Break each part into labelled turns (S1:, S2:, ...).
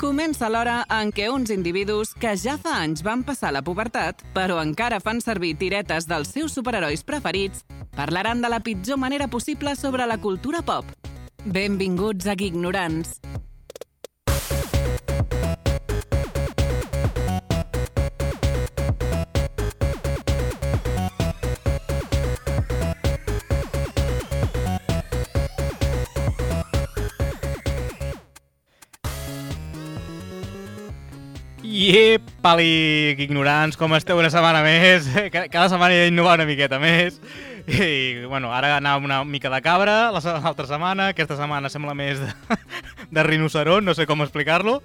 S1: Comença l'hora en què uns individus que ja fa anys van passar la pubertat, però encara fan servir tiretes dels seus superherois preferits, parlaran de la pitjor manera possible sobre la cultura pop. Benvinguts a Ignorants.
S2: Iepali, ignorants, com esteu una setmana més? Ca- Cada setmana he d'innovar una miqueta més. I, bueno, ara anàvem una mica de cabra, la se- l'altra setmana, aquesta setmana sembla més de, de rinoceront, no sé com explicar-lo.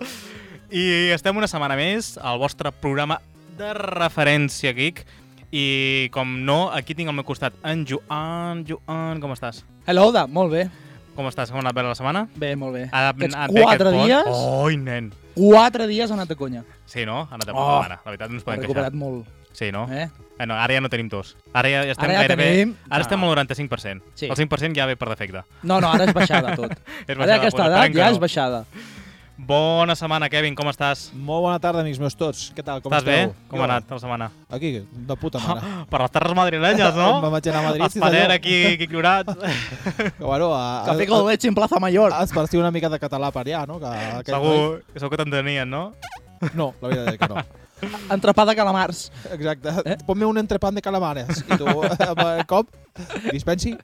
S2: I estem una setmana més al vostre programa de referència, Geek. I com no, aquí tinc al meu costat en Joan. Joan, com estàs?
S3: Hello, Oda, molt bé.
S2: Com estàs? Com ha anat bé la setmana?
S3: Bé, molt bé.
S2: Ha anat-
S3: Aquests
S2: ha anat bé aquest Oh.
S3: quatre
S2: pont?
S3: dies,
S2: Oi, nen!
S3: quatre dies ha anat a conya.
S2: Sí, no? Ha anat de
S3: Oh,
S2: puta mare. La veritat, no ens
S3: Ha
S2: podem queixar.
S3: recuperat molt.
S2: Sí, no?
S3: Eh?
S2: Bueno, ara ja no tenim tos. Ara ja, ja estem
S3: Ara ja
S2: gairebé...
S3: tenim-
S2: Ara estem
S3: No.
S2: al 95%.
S3: Sí.
S2: El 5% ja ve per defecte.
S3: No, no, ara és baixada tot.
S2: És
S3: ara aquesta
S2: bueno,
S3: edat
S2: esperem que
S3: ja és baixada.
S2: Bona setmana, Kevin, com estàs?
S4: Molt bona tarda, amics meus tots. Què tal, com
S2: estàs
S4: esteu?
S2: bé? Com ha anat la setmana?
S4: Aquí, de puta mare.
S2: Per les terres madrilenyes, no?
S4: Em vaig anar a Madrid, sí,
S2: Espader,
S4: senyor.
S2: aquí, aquí clorat.
S4: Que, bueno, a, a,
S3: Café con
S4: a,
S3: leche en Plaza Mayor.
S4: a, es partiu una mica de català per allà, no? Que, que
S2: segur, segur que t'entenien, no?
S4: No, la veritat és que no.
S3: Entrepà de calamars.
S4: Exacte. Eh? Ponme un entrepant de calamares. I tu, amb el cop, dispensi.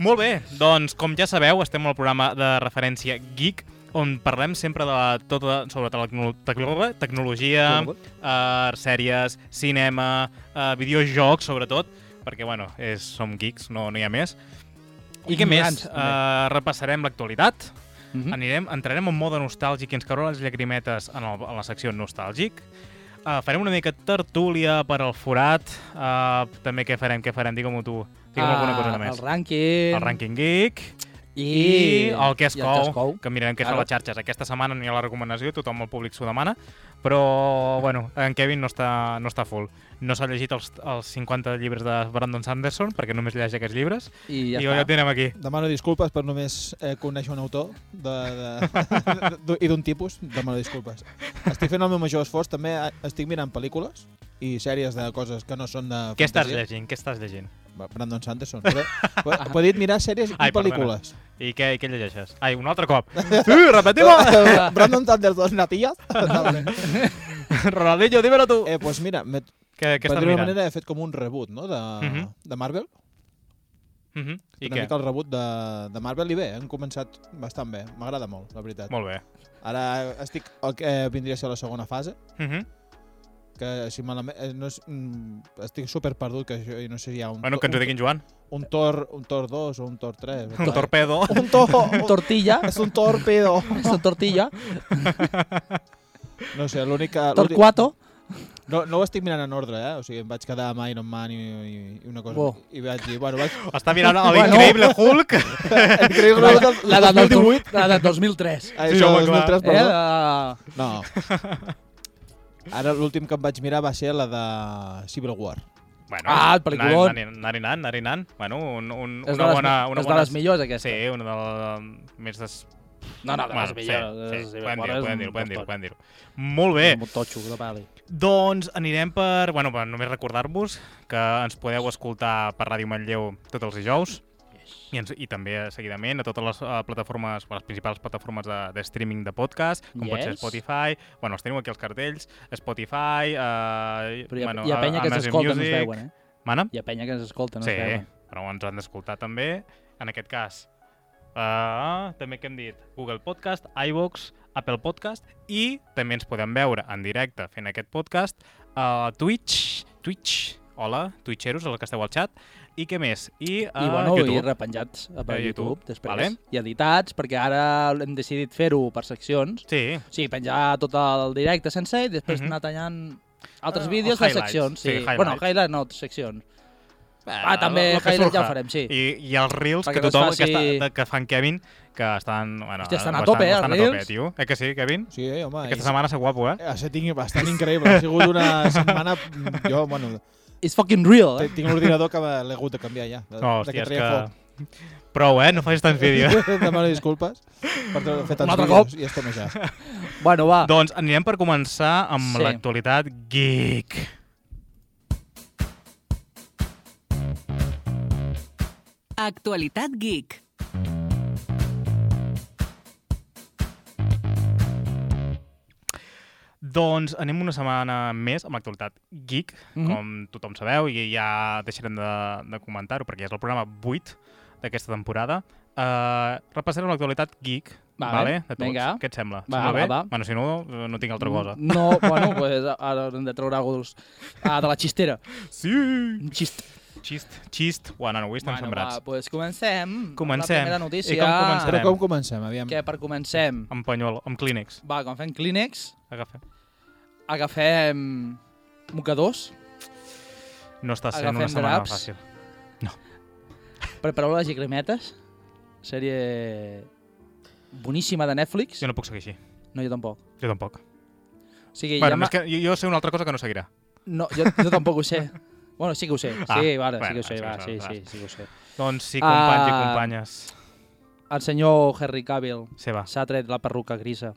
S2: Molt bé, doncs com ja sabeu, estem al programa de referència Geek, on parlem sempre de la, tota, sobre tecno, tecno, tecnologia, eh, sèries, cinema, eh, videojocs, sobretot, perquè, bueno, és, som geeks, no n'hi ha més. I què més?
S3: Ignorants,
S2: Eh, repassarem l'actualitat,
S3: Mhm.
S2: anirem, entrarem en mode nostàlgic i ens cauran les llagrimetes en, el, en la secció nostàlgic, Uh, farem una mica tertúlia per al forat. Uh, també què farem, què farem, digue-m'ho tu. Digue'm alguna cosa més.
S3: Ah, El rànquing.
S2: El rànquing geek
S3: I,
S2: i el que es
S3: i
S2: cou,
S3: cou.
S2: que mirarem què
S3: Claro.
S2: són les xarxes. Aquesta setmana no hi ha la recomanació, tothom el públic s'ho demana, però, bueno, en Kevin no està, no està full. No s'ha llegit els, els 50 llibres de Brandon Sanderson, perquè només llegeix aquests llibres,
S3: I ja
S2: i
S3: està.
S2: ja el tenim aquí.
S4: Demano disculpes per només eh, conèixer un autor de, de, de, i d'un tipus. Demano disculpes. Estic fent el meu major esforç. També eh, estic mirant pel·lícules i sèries de coses que no són de
S2: Què estàs
S4: fantasia.
S2: llegint? Què estàs llegint?
S4: Brandon Sanderson. Però, però,
S2: Ah.
S4: però he dit mirar sèries
S2: Ai,
S4: i pel·lícules.
S2: I què, i què llegeixes? Ai, un altre cop. Sí, repetim!
S4: Brandon Sanderson, natillas.
S2: Ronaldinho, dímelo tu!
S4: eh, pues mira, me,
S2: Què, què
S4: per
S2: estàs
S4: dir-ho
S2: mirant?
S4: manera he fet com un reboot, no?, de,
S2: Mhm.
S4: de Marvel.
S2: Mhm. I
S4: una
S2: què?
S4: mica el reboot de, de Marvel i bé, eh? han començat bastant bé. M'agrada molt, la veritat.
S2: Molt bé.
S4: Ara estic el que eh, vindria a ser la segona fase,
S2: Mhm.
S4: que si malament... Eh, no és, mm, estic super perdut, que jo, no sé si hi ha un,
S2: Bueno, que ens ho diguin Joan.
S4: un, un, Thor, un Thor 2 o un Thor 3.
S2: Un torpedo.
S4: Un Thor... Un Thor...
S3: Tortilla.
S4: És un torpedo.
S3: És una tortilla.
S4: No sé, l'únic que... l'únic-
S3: Torquato.
S4: No, no ho estic mirant en ordre, eh? O sigui, em vaig quedar amb Iron Man i, i, i una cosa...
S3: Bo.
S4: I vaig dir, bueno, vaig...
S2: Està mirant
S3: Bueno.
S2: l'increïble Hulk.
S4: Increïble
S3: La,
S4: del-
S3: la, de,
S4: del 2018.
S3: la de 2003.
S4: Ah,
S2: Sí,
S4: això,
S2: home, clar.
S4: 2003,
S3: Eh?
S4: perdó.
S3: La...
S4: No. Ara l'últim que em vaig mirar va ser la de Civil War.
S2: Bueno,
S3: Ah, el peliculón.
S2: Narinant, narinant, narinant. Bueno, un, un,
S3: És de
S2: una
S3: les,
S2: bona... Una
S3: és
S2: bona...
S3: de les millors, aquesta.
S2: Sí, una de les més... Des...
S3: No, no, de les millors.
S2: Sí,
S3: És-
S2: sí,
S3: és-
S2: podem
S3: és
S2: dir-ho,
S3: un
S2: podem dir-ho, podem dir-ho,
S3: doctor.
S2: podem dir-ho. Molt bé,
S3: Molt totxo, de pali.
S2: doncs anirem per... Bueno, per només recordar-vos que ens podeu escoltar per Ràdio Manlleu tots els dijous i, ens, i també eh, seguidament a totes les uh, plataformes, a les principals plataformes de, de streaming de podcast, com pot ser
S3: Yes.
S2: Spotify, bueno, els teniu aquí els cartells, Spotify, uh,
S3: Però hi ha,
S2: bueno,
S3: hi ha penya que
S2: Amazon
S3: s'escolta, no es
S2: Music.
S3: veuen, eh?
S2: Mana?
S3: Hi ha penya que s'escolta, no
S2: sí,
S3: es veuen.
S2: però ens han d'escoltar també, en aquest cas. Uh, també que hem dit Google Podcast, iVox, Apple Podcast i també ens podem veure en directe fent aquest podcast a Twitch, Twitch, hola, twitcheros, els que esteu al xat, i què més? I, a
S3: I, bueno,
S2: Ah, YouTube.
S3: i repenjats a per
S2: A YouTube,
S3: YouTube, després.
S2: vale.
S3: I editats, perquè ara hem decidit fer-ho per seccions.
S2: Sí,
S3: O sigui, penjar tot el directe sencer i després
S2: Mhm.
S3: anar tallant altres
S2: Ah, els
S3: vídeos de
S2: highlights,
S3: seccions.
S2: sí,
S3: Sí,
S2: highlights.
S3: Bueno, highlights no, seccions. Ah,
S2: lo-
S3: també
S2: lo Eh, que
S3: highlights ja
S2: surja.
S3: ho farem, sí.
S2: I, i els reels
S3: Perquè
S2: que tothom
S3: no es faci-
S2: que, està, que fan Kevin, que estan... Bueno,
S3: Hòstia, estan a
S2: bastant-
S3: tope, eh, els
S2: bastant a tope,
S3: reels.
S2: tio. Eh que sí, Kevin?
S4: Sí, eh, home.
S2: Aquesta setmana s'ha guapo, eh?
S4: Ha estat bastant increïble. Ha sigut una setmana... Jo, bueno,
S3: It's fucking real, eh?
S4: te- tinc l'ordinador que l'he hagut de canviar ja. De,
S2: No, hòstia,
S4: de
S2: és
S4: treia
S2: Oh, que...
S4: foc.
S2: Prou, eh? No facis tants vídeos.
S4: Demano disculpes per haver fet
S3: Un
S4: tants
S3: altre
S4: vídeos i estem allà.
S3: Bueno, va.
S2: doncs anirem per començar amb
S3: Sí.
S2: sí. l'actualitat geek.
S1: Actualitat Geek.
S2: Doncs anem una setmana més amb l'actualitat geek, mm
S3: Mhm.
S2: -hmm. com tothom sabeu, i ja deixarem de, de comentar-ho perquè ja és el programa 8 d'aquesta temporada. Uh, repassarem l'actualitat geek,
S3: Vale,
S2: vale. vale? De tots.
S3: vinga.
S2: Què et sembla?
S3: Va,
S2: sembla
S3: va,
S2: bé?
S3: va. Mm.
S2: Bueno, si no, eh, no tinc altra cosa.
S3: No, bueno, pues, ara hem de treure alguna cosa ah, de la xistera.
S2: Sí!
S3: Un xist.
S2: Xist, xist. Bueno, no, avui estem bueno, sembrats.
S3: va, pues comencem.
S2: Comencem.
S3: La primera
S2: I
S3: notícia.
S2: com començarem?
S4: Però com comencem, aviam?
S3: Que per comencem,
S2: Amb panyol, amb clínex.
S3: va, quan fem Kleenex,
S2: Agafem.
S3: agafem mocadors,
S2: No està sent
S3: Agafem
S2: una setmana
S3: draps.
S2: fàcil.
S3: prepareu les llagrimetes, sèrie boníssima de Netflix.
S2: Jo no puc seguir així.
S3: No, jo tampoc.
S2: Jo tampoc.
S3: O sigui,
S2: bueno,
S3: ja
S2: és que jo, jo sé una altra cosa que no seguirà.
S3: No, jo, jo tampoc ho sé. Bueno, sí que ho sé. Sí,
S2: Ah,
S3: vale, sí que
S2: bueno,
S3: ho sé,
S2: sí que
S3: va,
S2: ho
S3: sí,
S2: saps,
S3: sí, sí que ho sé.
S2: Doncs sí, companys i
S3: Ah.
S2: companyes.
S3: El senyor Henry Cavill
S2: Se va.
S3: s'ha tret la perruca grisa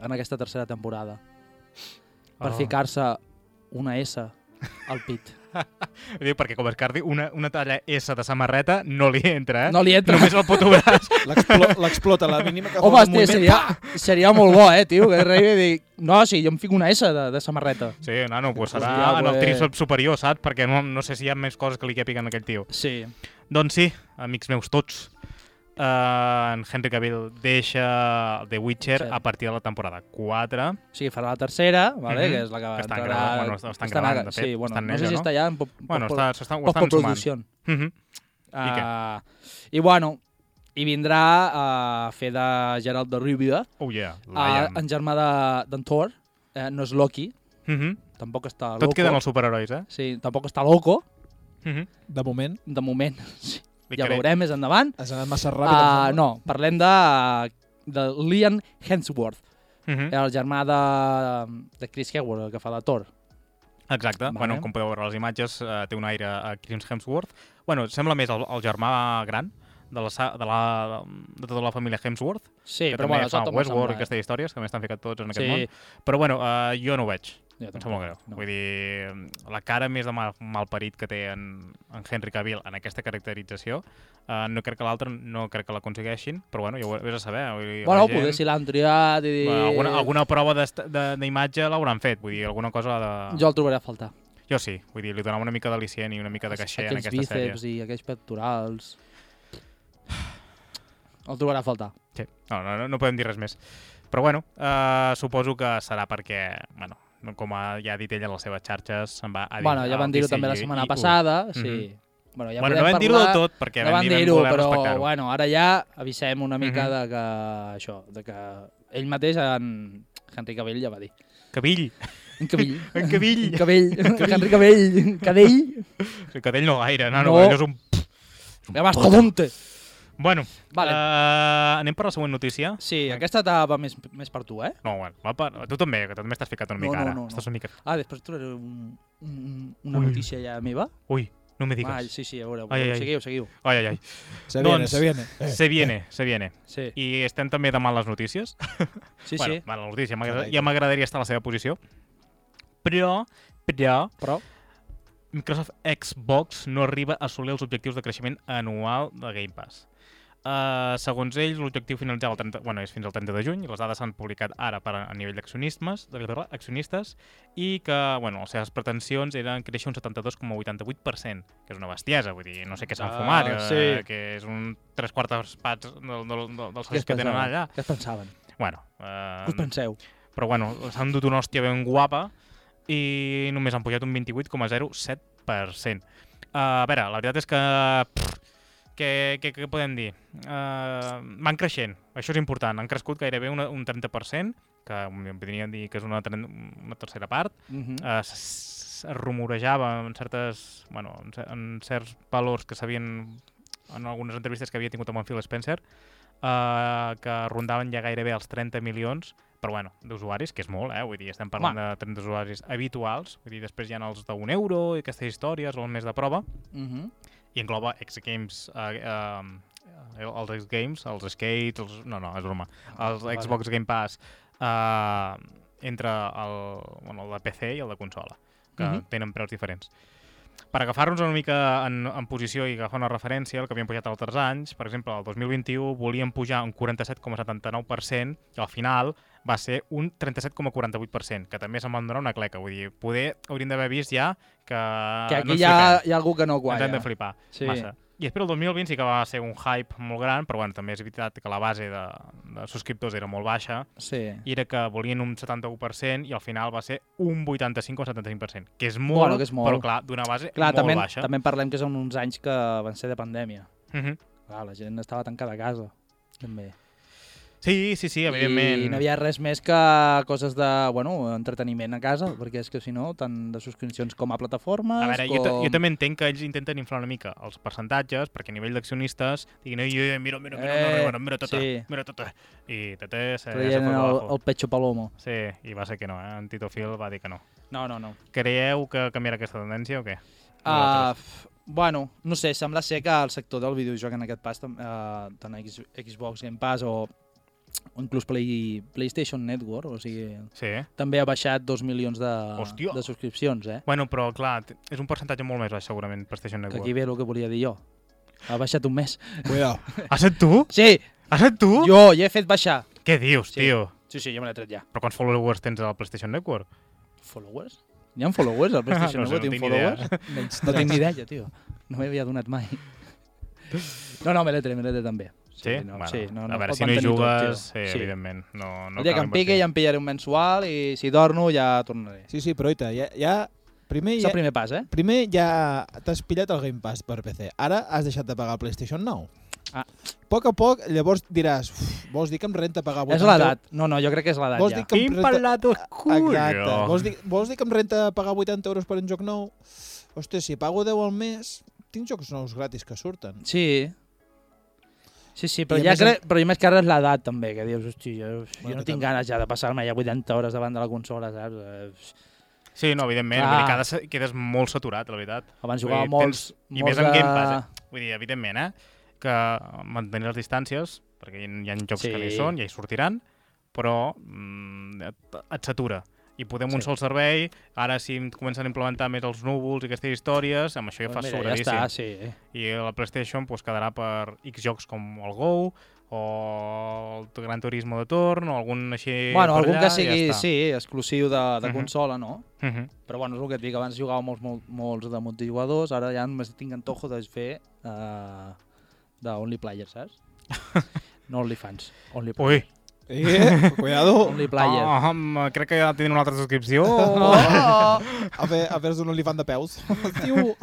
S3: en aquesta tercera temporada per
S2: Oh.
S3: ficar-se una S al pit.
S2: Diu, perquè com es cardi, una, una talla S de samarreta no li entra, eh?
S3: No li entra.
S2: Només el puto braç.
S4: L'explo- L'explota, la mínima que fa
S3: Home,
S4: un
S3: hòstia,
S4: moviment.
S3: seria, seria molt bo, eh, tio, que arribi i digui, no, sí, jo em fico una S de, de samarreta.
S2: Sí, nano, pues serà
S3: Hòstia,
S2: en el
S3: güey.
S2: tríceps superior, saps? Perquè no, no sé si hi ha més coses que li quèpiguen a aquell tio.
S3: Sí.
S2: Doncs sí, amics meus tots, uh, en Henry Cavill deixa The Witcher
S3: Sí.
S2: a partir de la temporada 4.
S3: O sigui, farà la tercera, vale,
S2: Mhm.
S3: que és la que,
S2: Que estan
S3: entrarà-
S2: gravant, bueno, estan
S3: estan
S2: gravant,
S3: a-
S2: de fet,
S3: Sí, bueno,
S2: estan en
S3: no sé
S2: ello,
S3: si
S2: no?
S3: està ja en pop,
S2: Bueno,
S3: pop,
S2: està, s'estan- ho estan sumant.
S3: postproducció.
S2: Mm -hmm. I què?
S3: Uh, I bueno, i vindrà a fer de Gerald de Rivia,
S2: Oh yeah,
S3: a,
S2: Lion.
S3: en germà de- d'en de, Thor, eh, no és Loki,
S2: Mm -hmm.
S3: tampoc està
S2: Tot
S3: loco.
S2: queda en els superherois, eh?
S3: Sí, tampoc està loco,
S2: Mm -hmm.
S4: De moment,
S3: de moment. Sí, ja veurem més endavant.
S4: has anat massa ràpid. em
S3: Uh,
S4: sembla.
S3: no, parlem de, de Liam Hemsworth,
S2: Mm
S4: Hm?
S2: -hmm.
S3: el germà de, de Chris Hemsworth, el que fa de Thor.
S2: Exacte,
S3: Vale.
S2: vale. bueno, com podeu veure a les imatges, eh, té un aire a Chris Hemsworth. Bueno, sembla més el, el germà gran de, la, sa- de, la, de tota la família Hemsworth,
S3: Sí,
S2: que
S3: però
S2: també
S3: bueno,
S2: fa
S3: això també
S2: Westworld i
S3: sembla, eh?
S2: aquestes històries, que també estan ficats tots en aquest
S3: Sí.
S2: món. Però bueno, eh, jo no ho veig,
S3: Jo
S2: em
S3: tampoc,
S2: sap molt greu.
S3: no.
S2: Vull dir, la cara més de mal, malparit que té en, en Henry Cavill en aquesta caracterització, eh, no crec que l'altre no crec que l'aconsegueixin, però bueno, ja ho vés a saber. Vull dir,
S3: Bueno,
S2: la
S3: potser
S2: gent,
S3: si l'han triat i... dir-
S2: eh, alguna, alguna prova d'est- de- d'imatge l'hauran fet, vull dir, alguna cosa de...
S3: Jo el trobaré a faltar.
S2: Jo sí, vull dir, li donava una mica d'al·licient i una mica de caixer en
S3: aquells
S2: aquesta sèrie.
S3: bíceps i aquells pectorals... El trobarà a faltar.
S2: Sí. No, no, no, no podem dir res més. Però bueno, eh, suposo que serà perquè, bueno, no- com ha, ja ha dit ella en les seves xarxes, se'n va a dir...
S3: bueno, ja van dir-ho també la setmana passada, sí.
S2: Mhm.
S3: Bueno,
S2: Ja
S3: ja
S2: bueno, no
S3: podem
S2: van dir-ho del
S3: parlar-
S2: tot, perquè
S3: no van dir-ho,
S2: voler
S3: però
S2: respectar-ho.
S3: bueno, ara ja avisem una mica
S2: Mhm.
S3: de que això, de que ell mateix, en Henry Cavill ja va dir.
S2: Cavill!
S3: En Cavill.
S2: En Cavill!
S3: En Cavill. Henry Cavill. Cadell.
S2: Sí, que d'ell no gaire, no, no.
S3: No.
S2: no és un...
S3: Ja mastodonte.
S2: Bueno,
S3: Vale.
S2: eh, anem per la següent notícia?
S3: Sí, aquesta ta- va més, més per tu, eh?
S2: No, bueno, va per... tu també, que també estàs ficat una
S3: No,
S2: mica
S3: no,
S2: ara.
S3: no, no.
S2: Estàs una mica...
S3: Ah, després trobaré un, un, una
S2: Ui.
S3: notícia ja meva.
S2: Ui, no me
S3: Ah,
S2: digues.
S3: sí, sí, a veure,
S2: Ai, ai, ai.
S3: seguiu, seguiu.
S2: Ai, ai, ai.
S4: Se viene,
S2: doncs-
S4: se viene. Eh,
S2: Se viene, se viene.
S3: Sí,
S2: I estem també de males notícies.
S3: sí,
S2: bueno,
S3: sí.
S2: Bueno, la notícia, m'agrada-
S4: Carai,
S2: ja
S4: tu.
S2: m'agradaria estar a la seva posició. Però, però,
S3: Però,
S2: Microsoft Xbox no arriba a assolir els objectius de creixement anual de Game Pass. Uh, segons ells, l'objectiu finalitzava el 30, bueno, és fins al 30 de juny, i les dades s'han publicat ara per a, a nivell d'accionistes, de- accionistes, i que bueno, les seves pretensions eren créixer un 72,88%, que és una bestiesa, vull dir, no sé què s'han
S3: Ah,
S2: fumat, que,
S3: sí.
S2: que és un tres quartes parts del, del, del, dels que, que tenen allà.
S3: Què es pensaven?
S2: Bueno,
S3: Què us
S2: uh,
S3: penseu?
S2: però bueno, s'han dut una hòstia ben guapa i només han pujat un 28,07%. Uh, a veure, la veritat és que... Pff, què, què, què podem dir? Uh, van creixent, això és important. Han crescut gairebé una, un 30%, que em podrien dir que és una, tren- una tercera part.
S3: Mhm.
S2: Uh, es rumorejava en, certes, bueno, en, cer- en certs valors que s'havien en algunes entrevistes que havia tingut amb en Phil Spencer, eh, que rondaven ja gairebé els 30 milions, però bueno, d'usuaris, que és molt, eh? Vull dir, estem parlant de 30 usuaris habituals, vull dir, després hi ha els d'un euro i aquestes històries, o el més de prova,
S3: Mhm.
S2: i engloba X Games, eh, eh, els X Games, els Skate, els... no, no, és broma, els
S3: Ah, Vale.
S2: Xbox Game Pass, eh, entre el, bueno, el de PC i el de consola, que
S3: Mhm.
S2: tenen preus diferents. Per agafar-nos una mica en, en posició i agafar una referència al que havíem pujat altres anys, per exemple, el 2021 volien pujar un 47,79% i al final va ser un 37,48%, que també se'n van donar una cleca. Vull dir, poder hauríem d'haver vist ja que...
S3: que aquí
S2: ens
S3: hi, ha,
S2: flipem.
S3: hi ha algú que no
S2: Ens
S3: guanya.
S2: hem de flipar
S3: eh? Sí.
S2: massa. I després el 2020 sí que va ser un hype molt gran, però bueno, també és veritat que la base de, de subscriptors era molt baixa
S3: Sí.
S2: i era que volien un 71% i al final va ser un 85 o 75%, que és molt,
S3: Bueno, que és molt.
S2: però clar, d'una base
S3: Clar,
S2: molt
S3: també,
S2: baixa.
S3: també en parlem que són uns anys que van ser de pandèmia.
S2: Mhm.
S3: Clar, la gent estava tancada a casa. També.
S2: Sí, sí, sí, evidentment.
S3: I no hi ha res més que coses de, bueno, entreteniment a casa, perquè és que si no, tant de subscripcions com a plataformes,
S2: A veure, jo,
S3: com...
S2: ta- jo també entenc que ells intenten inflar una mica els percentatges, perquè a nivell d'accionistes diguin, ei, ei, mira, mira, mira,
S3: Eh,
S2: eh, mira, mira, tata,
S3: sí.
S2: mira, tata. I tata se, se
S3: Traient
S2: fue
S3: el,
S2: abajo.
S3: el pecho palomo.
S2: Sí, i va ser que no, eh? En Tito Phil va dir que no.
S3: No, no, no.
S2: Creieu que canviarà aquesta tendència o què?
S3: Uh, f- bueno, no sé, sembla ser que el sector del videojoc en aquest pas, tam- eh, tant a X Xbox Game Pass o, o inclús Play, PlayStation Network, o sigui,
S2: Sí.
S3: també ha baixat 2 milions de,
S2: Hòstia.
S3: de subscripcions, eh?
S2: Bueno, però clar, t- és un percentatge molt més baix segurament PlayStation
S3: Que
S2: Network.
S3: aquí ve el que volia dir jo. Ha baixat un mes.
S4: Cuidao.
S2: Has set tu?
S3: Sí,
S2: Has set tu?
S3: jo hi he fet baixar.
S2: Què dius,
S3: Sí.
S2: tio?
S3: Sí, sí, jo me l'he tret ja.
S2: Però quants followers tens al PlayStation Network?
S3: Followers? Hi ha followers al PlayStation
S2: No sé, no
S3: Network? Tinc
S2: tinc ni idea.
S3: followers? No tinc ni idea, tio. No m'hi havia donat mai. No, no, me l'he tret, me l'he tret també.
S2: Sí?
S3: no,
S2: bueno,
S3: sí, no, no
S2: a veure,
S3: pot
S2: si no hi
S3: mantenir tot, tio.
S2: jugues, sí,
S3: Sí.
S2: evidentment. No, no
S3: No el dia que
S2: cal
S3: em pique
S2: invertir.
S3: ja em pillaré un mensual i si dormo ja tornaré.
S4: Sí, sí, però oita, ja, ja primer,
S3: És
S4: ja,
S3: el primer pas, eh?
S4: primer ja t'has pillat el Game Pass per PC. Ara has deixat de pagar PlayStation 9.
S3: Ah.
S4: A poc a poc, llavors diràs, "Uf, vols dir que em renta pagar...
S3: És
S4: 80
S3: l'edat. No, no, jo crec que és l'edat
S4: Vols
S3: ja.
S4: dir que em
S2: Quin
S4: renta-
S2: palato oscuro!
S4: Exacte. Vols dir, vols dir que em renta pagar 80 euros per un joc nou? Hòstia, si pago 10 al mes, tinc jocs nous gratis que surten.
S3: Sí. Sí, sí, però,
S4: I a
S3: ja
S4: més
S3: crec, però jo més que ara és l'edat també, que dius, hosti, jo, jo
S4: Bueno,
S3: no
S4: que
S3: tinc
S4: també.
S3: ganes ja de passar-me ja 80 hores davant de la consola, saps? Eh,
S2: Sí, no, evidentment.
S3: Clar.
S2: Vull dir, cada, se- quedes molt saturat, la veritat.
S3: Abans
S2: Vull
S3: jugava
S2: dir,
S3: molts...
S2: I
S3: molts
S2: més en
S3: de...
S2: Game Pass, eh? Vull dir, evidentment, eh? Que mantenir les distàncies, perquè hi ha, hi ha jocs sí. que no hi
S3: Sí.
S2: són, ja hi sortiran, però mm, et, et satura. I podem sí. un
S3: Sí.
S2: sol servei, ara si em comencen a implementar més els núvols i aquestes històries, amb això ja
S3: Doncs
S2: fas
S3: mira, ja
S2: sobradíssim. Eh,
S3: està, sí.
S2: I la PlayStation pues, quedarà per X jocs com el Go, o el Gran Turismo de torn, o algun així
S3: bueno,
S2: per
S3: algun
S2: allà,
S3: que sigui,
S2: i ja està.
S3: sí, exclusiu de, de
S2: Mhm.
S3: consola, no?
S2: Uh -huh.
S3: Però bueno, és el que et dic, abans jugava molts, molts, molts de multijugadors, ara ja només tinc antojo de fer uh, de Only Player, saps? no Only Fans, Only,
S2: Ui,
S4: Eh, cuidado,
S3: only Player.
S2: oh, home, crec que ja tindré una altra subscripció.
S3: Oh!
S4: a fer, a fer un olifant de peus. Tio,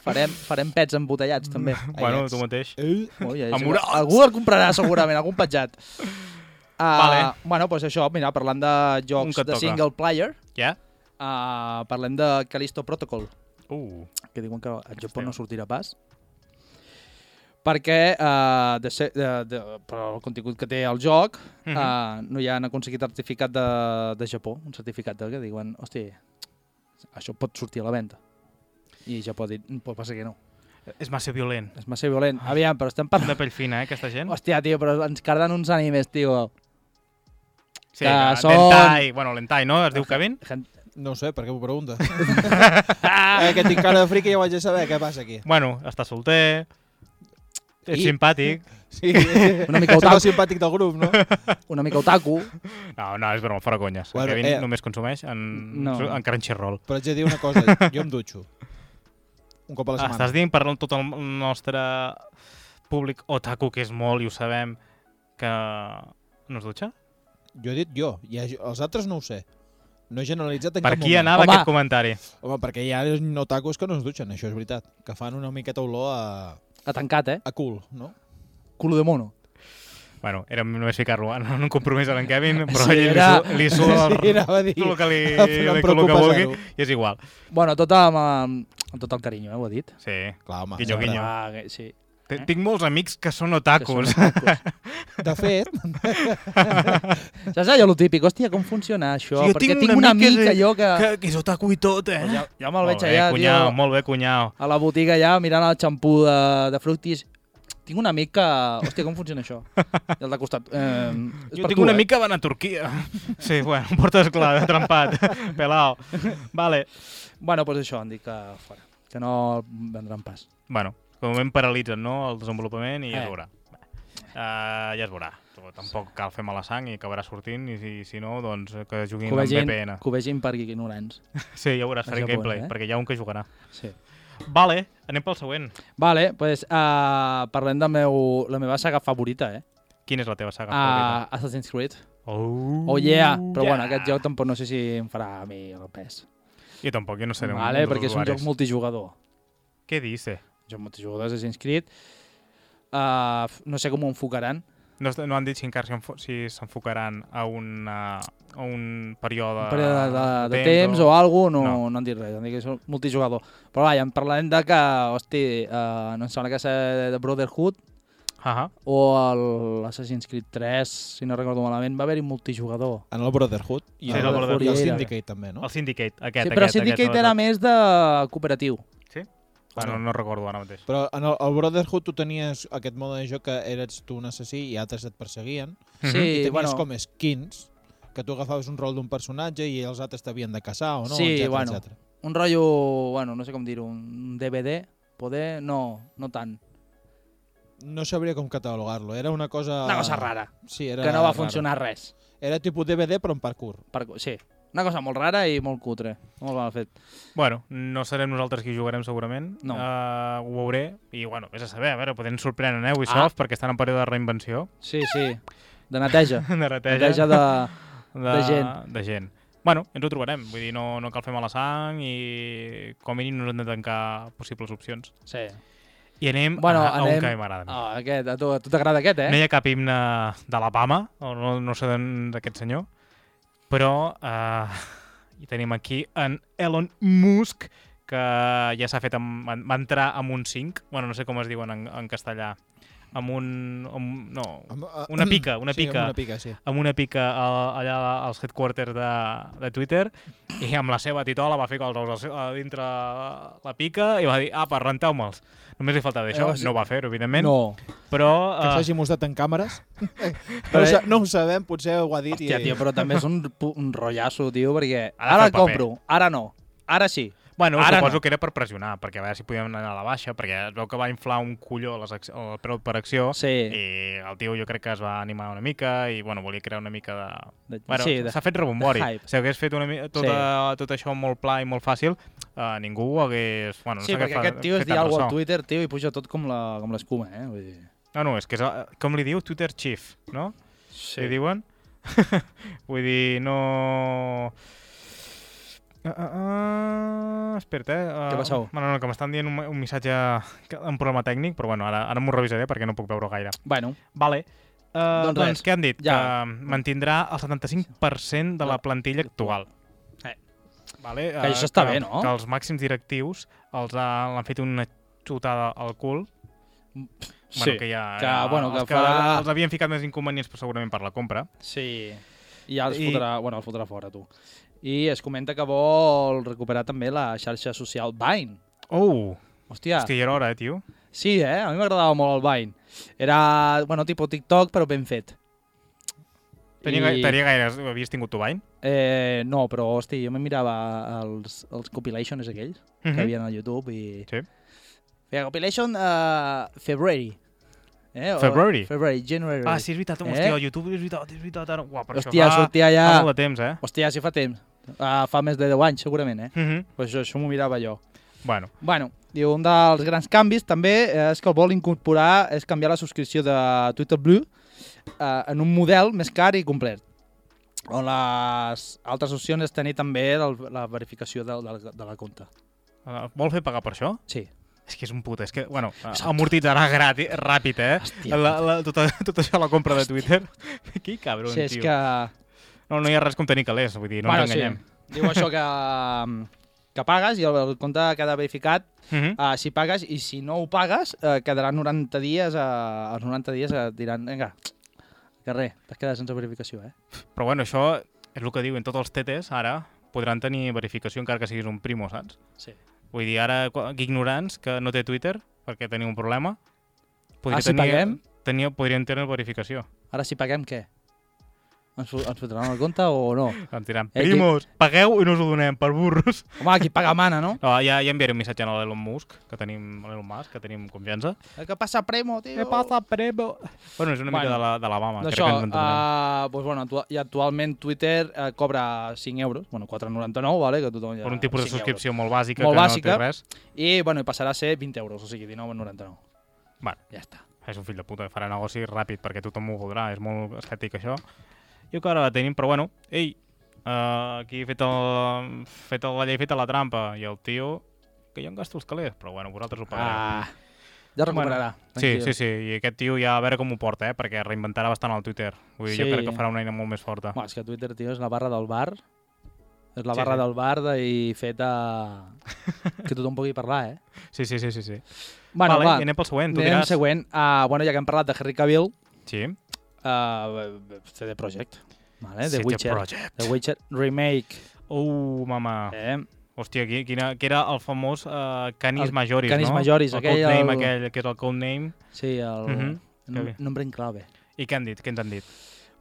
S3: Farem, farem pets embotellats, també.
S2: bueno,
S4: ets.
S2: tu mateix.
S4: eh,
S3: Ui, ja,
S2: Amb
S3: segur-
S2: urals.
S3: algú el comprarà segurament, algun petjat. Uh,
S2: Vale.
S3: Bueno, doncs això, mira, parlant de
S2: Un
S3: jocs
S2: que et
S3: de
S2: toca.
S3: single player,
S2: Ja?
S3: uh, parlem de Callisto Protocol,
S2: Uh,
S3: que diuen que al Japó
S2: Hòstia.
S3: no sortirà pas. Perquè uh, de ser, de, de, per el contingut que té el joc uh,
S2: Mhm.
S3: no hi han aconseguit certificat de, de Japó, un certificat de, que diuen, hosti, això pot sortir a la venda. I Japó ha dit, "Mm, pot passar que no.
S2: és massa violent.
S3: És massa violent. Aviam, però estem parlant...
S2: De pell fina, eh, aquesta gent.
S3: Hòstia, tio, però ens carden uns ànimes, tio.
S2: Sí,
S3: que
S2: que
S3: són-
S2: Lentai, bueno, Lentai, no? Es diu Kevin?
S3: Gent-
S4: no ho sé, per què m'ho preguntes?
S2: Ah.
S4: eh, que tinc cara de friqui ja ho vaig a saber, què passa aquí?
S2: Bueno, està solter, és
S4: I-
S2: simpàtic.
S4: Sí, eh,
S3: Una mica
S4: Sóc el
S3: otaku.
S4: simpàtic del grup, no?
S3: Una mica otaku.
S2: No, no, és broma, fora conyes.
S4: Bueno,
S2: Bueno, Kevin
S4: eh,
S2: només consumeix en,
S3: no.
S2: no. en Crunchyroll.
S4: Però haig de dir una cosa, jo em dutxo. Un cop a la
S2: Ah,
S4: setmana.
S2: Estàs dient parlant tot el nostre públic otaku, que és molt, i ho sabem, que no es dutxa?
S4: Jo he dit jo, i a- els altres no ho sé. No he generalitzat en
S2: Per
S4: cap
S2: qui
S4: moment.
S2: anava
S3: Home.
S2: aquest comentari?
S4: Home, perquè hi ha otakus que no es dutxen, això és veritat. Que fan una miqueta olor a,
S3: Ha tancat, eh?
S4: a cul, no?
S3: Culo de mono.
S2: Bueno, era només ficar-lo en en un compromís a l'en Kevin, però
S3: Sí,
S2: ell
S3: era-
S2: li, su- li suda
S4: Sí,
S2: el,
S4: anava a dir.
S2: tot el que li,
S4: em
S2: li, tot el
S4: preocupa
S2: que vulgui,
S4: zero.
S2: i és igual.
S3: Bueno, tot amb, amb, amb tot el carinyo, eh, ho he dit.
S2: Sí,
S4: Clar, home.
S2: Guinyo,
S4: és
S2: guinyo.
S4: veritat.
S3: Ah, que- sí.
S2: T- Tinc molts amics que són otakus.
S3: Que són otakus.
S4: De fet,
S3: Saps allò lo típic? Hòstia, com funciona això?
S2: Sí, jo
S3: Perquè
S2: tinc
S3: tinc
S2: un
S3: un
S2: amic
S3: amic
S2: que-
S3: allò que...
S2: que, que és otaku i tot, eh?
S3: Ja, ja me'l
S2: Molt
S3: veig
S2: bé,
S3: allà,
S2: cunyau,
S3: tio,
S2: Molt bé, cunyau.
S3: a la botiga allà mirant el xampú de, de fructis. Tinc un amic que... Hòstia, com funciona això? I el de costat... Eh, és
S2: Jo
S3: per
S2: tinc
S3: tu,
S2: una
S3: eh?
S2: mica van a Turquia. Sí, bueno, em portes clar, de trempat, pelao. Vale.
S3: Bueno, doncs això, han dit que fora. Que no el vendran pas.
S2: Bueno, de moment paralitzen no, el desenvolupament i ja
S3: Eh.
S2: es veurà. Uh, ja es veurà. Tampoc cal fer mala sang i acabarà sortint i si, si no, doncs que
S3: Que
S2: juguin
S3: ho
S2: amb
S3: vegin,
S2: VPN.
S3: que ho vegin per ignorants.
S2: Sí, ja veuràs,
S3: A
S2: faré
S3: Japó,
S2: gameplay,
S3: eh?
S2: perquè hi ha un que jugarà.
S3: Sí.
S2: Vale, anem pel següent.
S3: Vale, doncs uh, parlem de meu, la meva saga favorita, eh?
S2: Quina és la teva saga?
S3: Uh, Assassin's Creed.
S2: favorita? Oh,
S3: Oh yeah! Però bueno, aquest joc tampoc no sé si em farà a mi el pes.
S2: Jo tampoc, jo no seré un
S3: Vale,
S2: dels
S3: perquè és un
S2: usuaris.
S3: joc multijugador.
S2: Què dice?
S3: Un joc multijugador d'Assassin's Creed. Uh, no sé com ho enfocaran.
S2: No, es- no han dit si encara si enfo- si s'enfocaran a, una, a un període,
S3: Un període de, de, de temps o alguna no, no.
S2: Ah, No.
S3: no han dit res, han dit que és un multijugador. Però va, ja en parlarem de que, hosti, uh, no em sembla que és de Brotherhood
S2: Ah,
S3: o el Assassin's Creed 3, si no recordo malament, va haver-hi multijugador.
S4: en el Brotherhood i,
S2: Sí,
S4: el,
S2: el Brotherhood
S4: i el
S3: era.
S4: Syndicate també, no?
S2: el Syndicate,
S3: Aquest,
S2: aquest.
S3: sí,
S2: aquest,
S3: però aquest, Syndicate
S2: aquest,
S3: era més de cooperatiu.
S2: Ah, no, no recordo ara mateix.
S4: Però en el, el Brotherhood tu tenies aquest mode de joc que eres tu un assassí i altres et perseguien
S2: Mhm.
S3: Sí,
S4: i tenies
S3: bueno,
S4: com skins que tu agafaves un rol d'un personatge i els altres t'havien de caçar o no,
S3: Sí,
S4: etcètera,
S3: bueno.
S4: etcètera.
S3: un rotllo, bueno, no sé com dir-ho, un DVD, poder, no, no tant.
S4: No sabria com catalogar-lo, era una cosa...
S2: Mhm.
S3: Una cosa rara,
S4: Sí, era
S3: que no va
S4: raro.
S3: funcionar res.
S4: Era tipus DVD però en parkour.
S3: Per, sí, una cosa molt rara i molt cutre, molt mal fet.
S2: Bueno, no serem nosaltres qui jugarem segurament.
S3: No.
S2: Eh, ho veuré. I bueno, vés a saber, a veure, podem sorprendre eh, Ubisoft perquè estan en període de reinvenció.
S3: Sí, sí, de neteja.
S2: De reteja.
S3: Neteja de...
S2: de,
S3: de gent.
S2: De gent. Bueno, ens ho trobarem. Vull dir, no, no cal fer mala sang i com a mínim no ens hem de tancar possibles opcions.
S3: Sí.
S2: I anem
S3: Bueno,
S2: a, a
S3: anem-
S2: un que a mi m'agrada. a mi.
S3: Ah, aquest, a tu, a tu t'agrada aquest, eh?
S2: No hi ha cap himne d'Alabama, o no, no sé d'on- d'aquest senyor, però eh, hi tenim aquí en Elon Musk, que ja s'ha fet, amb, va entrar amb un 5, bueno, no sé com es diuen en, en castellà, amb un... Amb, no,
S4: Amb- eh,
S2: Una pica, una
S4: sí,
S2: pica.
S4: Amb una pica, sí.
S3: Ah.
S2: amb una pica a- allà als headquarters de, de Twitter i amb la seva titola va fer els ous al seu- a dintre la pica i va dir, apa, renteu-me'ls. Només li faltava això,
S3: Eh, sí.
S2: no ho va fer, evidentment,
S3: No.
S2: però...
S4: Que
S2: eh,
S4: s'hagi mostrat en càmeres.
S3: Però
S4: no, ho
S3: ell-
S4: sa- no ho sabem, potser ho ha dit.
S3: Hòstia,
S4: i...
S3: tio, però també és un, pu- un rotllasso, tio, perquè
S2: Ha de fer
S3: ara
S2: el
S3: el
S2: paper.
S3: compro, ara no, ara sí.
S2: Bueno,
S3: Ara
S2: Ara suposo
S3: no.
S2: no. que era per pressionar, perquè a veure si podíem anar a la baixa, perquè es veu que va inflar un colló les ac- el preu per acció
S3: Sí,
S2: i el tio jo crec que es va animar una mica i bueno, volia crear una mica de...
S3: de,
S2: Bueno,
S3: sí, de,
S2: s'ha fet rebombori.
S3: de hype.
S2: Si hagués fet una mi... tot,
S3: Sí.
S2: a, tot això molt pla i molt fàcil, eh, ningú ho hagués... Bueno, no
S3: sí
S2: sé
S3: perquè
S2: fa,
S3: aquest tio es
S2: fet
S3: diu
S2: tant
S3: alguna cosa
S2: ressò.
S3: al Twitter, tio, i puja tot com la- com l'escuma, eh? Vull dir...
S2: No, no, és que és... el- Com li diu? Twitter Chief, no? Sí.
S3: Sí.
S2: Li diuen? Vull dir, no... Uh, uh, uh, espera't, eh? Uh,
S3: Què passau?
S2: Bueno, no, que m'estan dient un, un missatge, que- un problema tècnic, però bueno, ara, ara m'ho revisaré perquè no puc veure gaire.
S3: Bueno,
S2: Vale. Uh,
S3: Doncs
S2: doncs,
S3: res,
S2: doncs què han dit?
S3: ja.
S2: Que mantindrà el 75% de la plantilla actual.
S3: Eh.
S2: Vale,
S3: Que
S2: eh,
S3: això està
S2: que,
S3: bé, no?
S2: Que els màxims directius els ha- l'han fet una xutada al cul.
S3: sí,
S2: Bueno, que ja,
S3: que,
S2: ja
S3: bueno, que
S2: els
S3: farà-
S2: els havien ficat més inconvenients però segurament per la compra.
S3: sí. I ja els
S2: I-
S3: fotrà, bueno, els fotrà fora, tu. I es comenta que vol recuperar també la xarxa social Vine.
S2: Oh!
S3: Hòstia,
S2: Hòstia, ja era hora, eh, tio?
S3: sí, eh? A mi m'agradava molt el Vine. Era, bueno, tipus TikTok, però ben fet.
S2: Tenia, I... tenia gaires... Havies tingut tu Vine?
S3: Eh, no, però, hosti, jo me mirava els, els compilations aquells mm -hmm.
S2: Mhm.
S3: que havien a YouTube i...
S2: Sí.
S3: Feia compilation a uh, February. Eh? o-
S2: February?
S3: February, January.
S2: Ah, sí, és veritat, home,
S3: Eh?
S2: hòstia, YouTube és veritat, és veritat. Ara... Uah, però
S3: Hòstia,
S2: això fa,
S3: sortia
S2: fa
S3: ja...
S2: molt de temps, eh?
S3: Hòstia, sí fa temps. Uh, fa més de 10 anys, segurament, eh?
S2: Mm -hmm.
S3: Pues això, això m'ho mirava jo.
S2: Bueno,
S3: Bueno, diu, un dels grans canvis també eh, és que el vol incorporar és canviar la subscripció de Twitter Blue eh, en un model més car i complet. On les altres opcions és tenir també el, la verificació de, de, de la compte.
S2: uh, vol fer pagar per això?
S3: Sí.
S2: És que és un puto, és que, bueno, Exacte. amortitzarà gratis, ràpid, eh?
S3: Hòstia.
S2: La, la, tot, tot això a la compra de Twitter. Qui cabrón,
S3: sí, és
S2: tio.
S3: que...
S2: No, no hi ha res com tenir calés, vull dir, no bueno, ens enganyem.
S3: Sí. Diu això que... mm, que pagues i el, el compte queda verificat
S2: Mm -hmm.
S3: uh, si pagues i si no ho pagues uh, quedarà 90 dies, uh, els 90 dies uh, diran, vinga, carrer, t'has quedat sense verificació, eh?
S2: Però bueno, això és el que diuen tots els tetes, ara podran tenir verificació encara que siguis un primo, saps?
S3: Sí.
S2: Vull dir, ara qua- ignorants que no té Twitter perquè teniu un problema,
S3: Ah, si paguem?
S2: Tenia, podrien tenir verificació.
S3: Ara si paguem, què? Ens, fo- ens fotran el compte o no?
S2: Em diran,
S3: Eh, qui-
S2: primos, pagueu i no us ho donem, per burros.
S3: Home, qui paga mana, no?
S2: No, ja, ja enviaré un missatge a l'Elon Musk, que tenim, a l'Elon Musk, que tenim confiança.
S3: Eh, Què passa, Primo, tio?
S4: Prebo?
S2: Bueno, és una
S3: Bueno,
S2: mica de la- de l'Alabama.
S3: No,
S2: crec
S3: això,
S2: que ens entendrem.
S3: uh, doncs, bueno, actua- i actualment Twitter uh, cobra 5 euros, bueno, 4,99, vale? que tothom ja...
S2: per un tipus de
S3: 5
S2: subscripció molt bàsica,
S3: eh, Molt
S2: que
S3: bàsica.
S2: no té res.
S3: Euros. I, bueno, i passarà a ser 20 euros, o sigui, 19,99.
S2: Bueno.
S3: Ja està.
S2: És un fill de puta, farà negoci ràpid perquè tothom ho voldrà, és molt estètic això. Jo que ara la tenim, però bueno, ei, uh, aquí he fet, el, fet el, la llei, feta la trampa, i el tio, que jo em gasto els calés, però bueno, vosaltres ho pagareu.
S3: Ah, ja recuperarà.
S2: sí, sí, sí, i aquest tio ja a veure com ho porta, eh, perquè reinventarà bastant el Twitter. Vull dir, sí.
S3: Sí.
S2: jo crec que farà una eina molt més forta.
S3: Bueno, és que Twitter, tio, és la barra del bar. És la
S2: Sí,
S3: barra
S2: sí.
S3: del bar de, i feta... que tothom pugui parlar, eh?
S2: Sí, sí, sí, sí. sí.
S3: Bueno,
S2: vale,
S3: va,
S2: i anem pel següent, tu
S3: anem al
S2: diràs.
S3: següent. Eh, Uh, bueno, ja que hem parlat de Henry Cavill,
S2: Sí,
S3: uh, CD Projekt, vale? The
S2: City
S3: Witcher.
S2: Project.
S3: The Witcher Remake.
S2: Uh, mama.
S3: Eh?
S2: Hòstia, qui, quina, que era el famós uh, Canis
S3: El
S2: Majoris,
S3: Canis
S2: no?
S3: Majoris,
S2: el
S3: aquell,
S2: Codename,
S3: el-
S2: aquell, que és el codename.
S3: Sí, el
S2: Mhm,
S3: nom-
S2: bé.
S3: nombre en clave.
S2: I què han dit? Què ens han dit?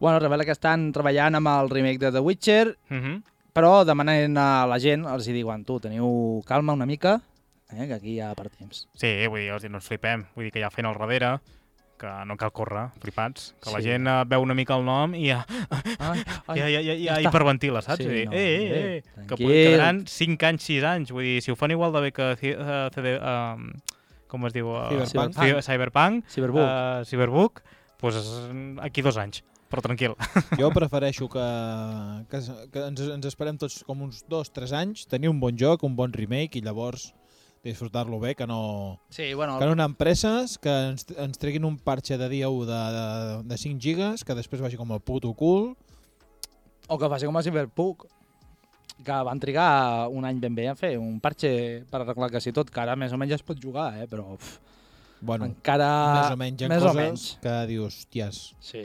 S3: Bueno, revela que estan treballant amb el remake de The Witcher,
S2: Uh -huh.
S3: però demanant a la gent, els hi diuen, tu, teniu calma una mica, eh, que aquí hi ha per temps.
S2: Sí, vull dir, els no ens flipem. Vull dir que hi ha feina al darrere, que no cal córrer, flipats. Que sí. la
S3: Sí.
S2: gent eh, veu una mica el nom i ja,
S3: Ai, ai,
S2: ja, ja, ja, ja,
S3: està.
S2: hiperventila, saps?
S3: Sí,
S2: Sí,
S3: no,
S2: eh, eh, eh,
S3: bé,
S2: eh. Que
S3: tranquils.
S2: poden- quedaran 5 anys, 6 anys. Vull dir, si ho fan igual de bé que C- eh, CD... Um, com es diu? eh,
S4: Cyberpunk.
S2: Ci- Cyberpunk.
S3: Cyberpunk.
S2: eh, Cyberbook. Doncs eh, aquí dos anys. Però tranquil.
S4: Jo prefereixo que, que, que ens, ens esperem tots com uns dos, tres anys, tenir un bon joc, un bon remake i llavors disfrutar-lo bé, que no,
S3: Sí, bueno,
S4: que no anar amb presses, que ens, ens treguin un parxe de dia 1 de, de, de 5 gigas, que després vagi com el puto cul.
S3: o que faci com a Cyberpunk, que van trigar un any ben bé a fer un parche per arreglar quasi tot, que ara més o menys ja es pot jugar, eh, però uf,
S4: Bueno,
S3: encara...
S4: més o menys hi ha
S3: Ah, més o
S4: coses
S3: menys.
S4: que dius, hòsties,
S3: Sí.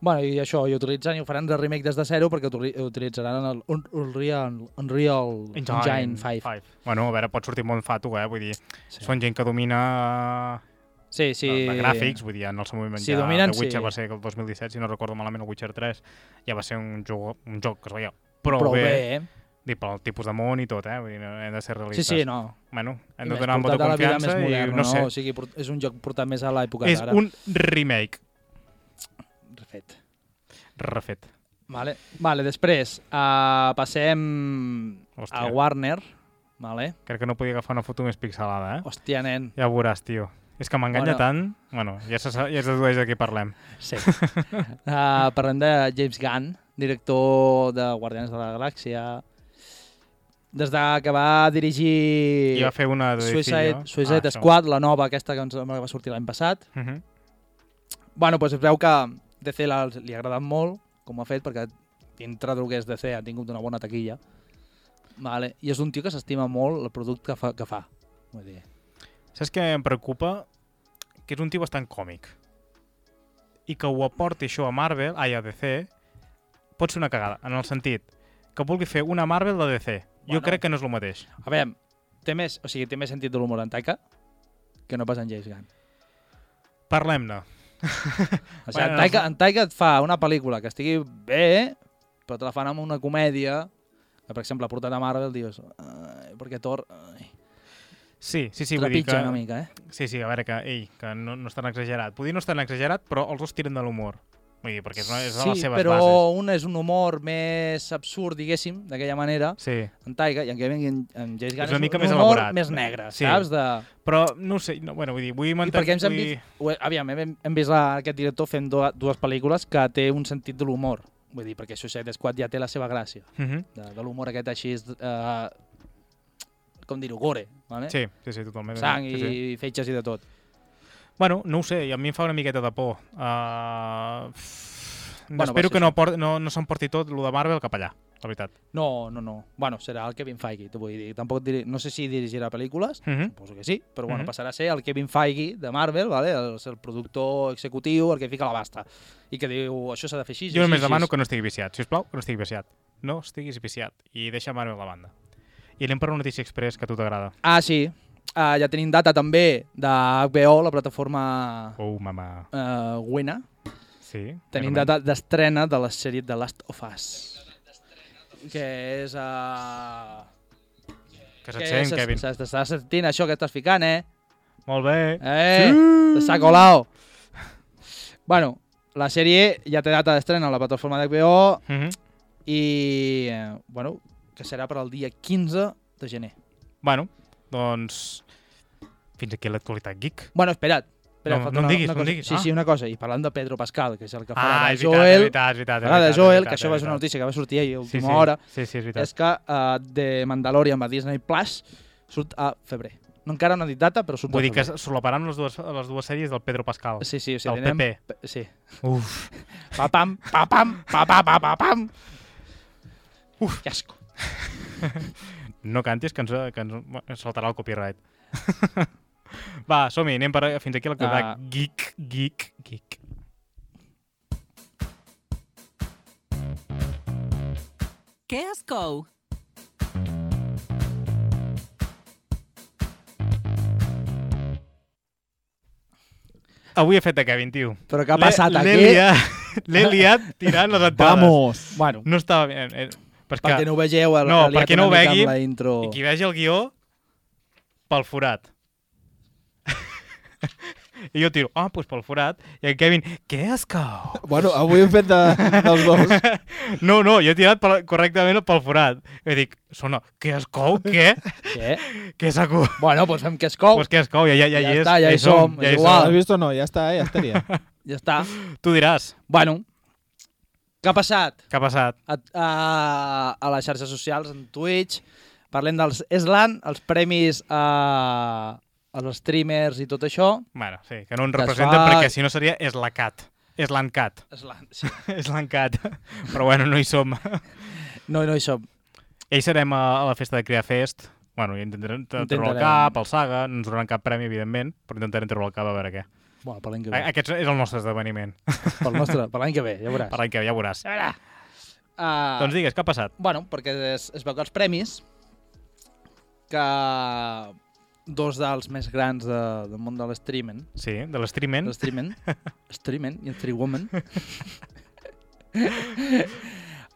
S3: Bueno, i això, i utilitzen i ho faran de remake des de zero perquè utili- utilitzaran el Un- Unreal, Unreal Engine 5.
S2: Bueno, a veure, pot sortir molt fato, eh? Vull dir,
S3: Sí,
S2: sí. són gent que domina
S3: sí.
S2: sí.
S3: sí.
S2: de gràfics, vull dir, en el seu moment
S3: Sí,
S2: ja
S3: dominen,
S2: The Witcher
S3: sí.
S2: va ser el 2017, si no recordo malament, el Witcher 3 ja va ser un joc, un joc que es veia prou,
S3: Prou
S2: bé,
S3: bé, eh?
S2: Dir, pel tipus de món i tot, eh? Vull dir, no- hem de ser
S3: Sí,
S2: realistes.
S3: sí, no.
S2: Bueno, hem
S3: I
S2: de
S3: més
S2: donar un vot de
S3: portat a la vida
S2: confiança
S3: més moderna,
S2: i no, sé,
S3: O sigui, port- és un joc portat més a l'època
S2: és
S3: d'ara.
S2: un remake
S3: Refet.
S2: refet.
S3: Vale. vale, després uh, passem Hòstia. a
S2: Hòstia.
S3: Warner. Vale.
S2: Crec que no podia agafar una foto més pixelada, eh?
S3: Hòstia, nen.
S2: Ja ho veuràs, tio. És que m'enganya
S3: Oh.
S2: bueno.
S3: Bueno.
S2: tant... Bueno, ja, se, sa- ja es dedueix de qui parlem.
S3: Sí. uh, parlem de James Gunn, director de Guardians de la Galàxia. Des de que va dirigir
S2: I va fer una de
S3: Suicide,
S2: Decision.
S3: Suicide
S2: això.
S3: Squad, la nova aquesta que ens sembla que va sortir l'any passat.
S2: Mhm.
S3: Bueno, doncs es veu que DC la- li ha agradat molt, com ho ha fet, perquè dintre del que és DC ha tingut una bona taquilla. Vale. I és un tio que s'estima molt el producte que fa. Que fa. Vull dir,
S2: Saps què em preocupa? Que és un tio bastant còmic. I que ho aporti això a Marvel, ai, a DC, pot ser una cagada, en el sentit que vulgui fer una Marvel de DC. Bueno.
S3: Bueno.
S2: Jo crec que no és el mateix.
S3: a veure, té més, o sigui, té més sentit de l'humor en Taika que no pas en James Gunn.
S2: Parlem-ne.
S3: O sigui,
S2: Bueno,
S3: en
S2: no
S3: Taika,
S2: sé.
S3: en Taika et fa una pel·lícula que estigui bé, però te la fan amb una comèdia, que, per exemple, portat a Marvel, dius, "Ai, perquè Thor ai,
S2: Sí, sí, sí, vull dir
S3: trepitja
S2: que...
S3: una mica, eh?
S2: Sí, sí, a veure, que, ei, que no, no és tan exagerat. Podria no és tan exagerat, però els dos tiren de l'humor. Vull dir, perquè és, una, és de
S3: sí,
S2: les seves
S3: però
S2: bases.
S3: un és un humor més absurd, diguéssim, d'aquella manera,
S2: Sí,
S3: en Taiga, i en Kevin en, en James Gunn
S2: És una mica
S3: un
S2: més
S3: humor
S2: elaborat. eh.
S3: més negre,
S2: Sí.
S3: sí. saps? De...
S2: però no ho sé, no, bueno, vull dir, vull
S3: I
S2: mantenir...
S3: perquè hem
S2: vull...
S3: sentit... Ho, aviam, hem, hem vist la, aquest director fent do, dues pel·lícules que té un sentit de l'humor. Vull dir, perquè Suicide Squad ja té la seva gràcia,
S2: Uh -huh.
S3: de, de l'humor aquest així, eh, com dir-ho, gore, vale?
S2: Sí, sí, sí, totalment.
S3: sang
S2: sí, sí.
S3: i fetges i de tot.
S2: Bueno, no ho sé, i a mi em fa una miqueta de por. Uh...
S3: Bueno,
S2: Bueno, Espero
S3: va ser
S2: que no, por... no, no s'emporti tot el de Marvel cap allà. la veritat.
S3: No, no, no. Bueno, serà el Kevin Feige, t'ho vull dir. Tampoc dir... No sé si dirigirà pel·lícules,
S2: Mhm.
S3: suposo que sí, però bueno,
S2: Mhm.
S3: passarà a ser el Kevin Feige de Marvel, vale? el, el productor executiu, el que fica la basta. I que diu, això s'ha de fer així,
S2: Jo només demano que no estigui viciat, si us plau, que no estigui viciat. No estiguis viciat i deixa Mario a la banda. I anem per una notícia express que a tu t'agrada.
S3: Ah, sí. Ah, ja tenim data també de HBO, la plataforma
S2: Oh, mama.
S3: uh, Wena.
S2: Sí.
S3: Tenim
S2: finalment.
S3: data d'estrena de la sèrie The Last of Us. Que és... eh, Uh...
S2: Que se't sent, Kevin.
S3: T'està sentint això que estàs ficant, eh?
S2: Molt bé.
S3: Eh, sí. s'ha colado. Bueno, la sèrie ja té data d'estrena a la plataforma d'HBO
S2: Mhm.
S3: i, eh, bueno, que serà per al dia 15 de gener.
S2: Bueno, doncs... Fins aquí l'actualitat geek.
S3: Bueno, espera't. espera't
S2: No,
S3: falta
S2: no em
S3: una-
S2: diguis,
S3: una
S2: no em
S3: cosa.
S2: diguis.
S3: Sí,
S2: Ah.
S3: sí, una cosa. I parlant de Pedro Pascal, que és el que farà
S2: Ah,
S3: de
S2: és veritat, és
S3: Joel,
S2: veritat, és veritat. és
S3: farà de
S2: veritat, és
S3: Joel,
S2: veritat,
S3: que això
S2: és
S3: va ser
S2: veritat.
S3: una notícia que va sortir ahir a
S2: Sí,
S3: última
S2: sí.
S3: hora,
S2: Sí, sí, és veritat.
S3: és que uh, The Mandalorian a Disney Plus surt a febrer. No encara no ha dit data, però surt
S2: Vull
S3: a
S2: dir que
S3: febrer.
S2: solaparan les dues, les dues sèries del Pedro Pascal.
S3: Sí, sí, o sigui,
S2: del
S3: tindrem-
S2: PP.
S3: pe- Sí,
S2: Uf.
S3: Pa-pam, pa-pam, pa-pa-pa-pam. Pa, pam. Uf, que asco.
S2: No cantis, que ens, que ens saltarà el copyright. Va, som-hi, anem per, fins aquí l'actualitat
S3: Ah.
S2: uh. geek, geek, geek.
S1: Què es cou?
S2: Avui he fet de Kevin, tio.
S3: Però què ha
S2: L'he-
S3: passat
S2: l'he
S3: aquí?
S2: liat- L'he liat tirant les entrades.
S4: Vamos!
S3: Bueno,
S2: No estava bé. eh, eh, Però és
S3: perquè
S2: que
S3: no ho vegeu, el,
S2: No,
S3: el liat
S2: perquè no
S3: una
S2: ho
S3: mica amb
S2: vegui,
S3: la intro.
S2: i qui vegi el guió, pel forat. I jo tiro, ah, doncs pel forat. I en Kevin, què és que...
S4: Bueno, avui hem fet de, dels dos.
S2: No, no, jo he tirat pel, correctament pel forat. I dic, sona, què es cou, què?
S3: Què?
S2: què s'ha cou?
S3: Bueno, doncs fem que es cou.
S2: Pues què es cou, ja, ja, ja,
S3: Ja
S2: hi és.
S3: està, ja hi som, és igual.
S4: Has Ah, vist o no? Ja està, eh? ja estaria.
S3: Ja està.
S2: Tu diràs,
S3: Bueno, què ha passat?
S2: què ha passat?
S3: A, a, a les xarxes socials, en Twitch, parlem dels SLAN, els premis a, als streamers i tot això.
S2: Bueno, sí, que no ens
S3: Que es
S2: representen
S3: fa-
S2: perquè si no seria eslacat. Eslancat.
S3: SLAN, sí.
S2: Eslancat. Però bueno, no hi som.
S3: No, no hi som.
S2: Ells serem a, a la festa de CreaFest. Bueno, i intentarem tra- treure el
S3: Intentarem.
S2: cap, el Saga, no ens donaran cap premi, evidentment, però intentarem treure el cap a veure què.
S3: Bueno, per l'any que
S2: A-
S3: ve.
S2: Aquest és el nostre esdeveniment.
S3: Pel nostre, per l'any que ve, ja veuràs.
S2: Per l'any que ve, ja veuràs. A veure.
S3: Ah,
S2: Doncs digues, què ha passat?
S3: Bueno, perquè es, es veu que els premis que dos dels més grans de, del món de l'streaming
S2: Sí, de l'streaming.
S3: de streaming, streaming i el Three Woman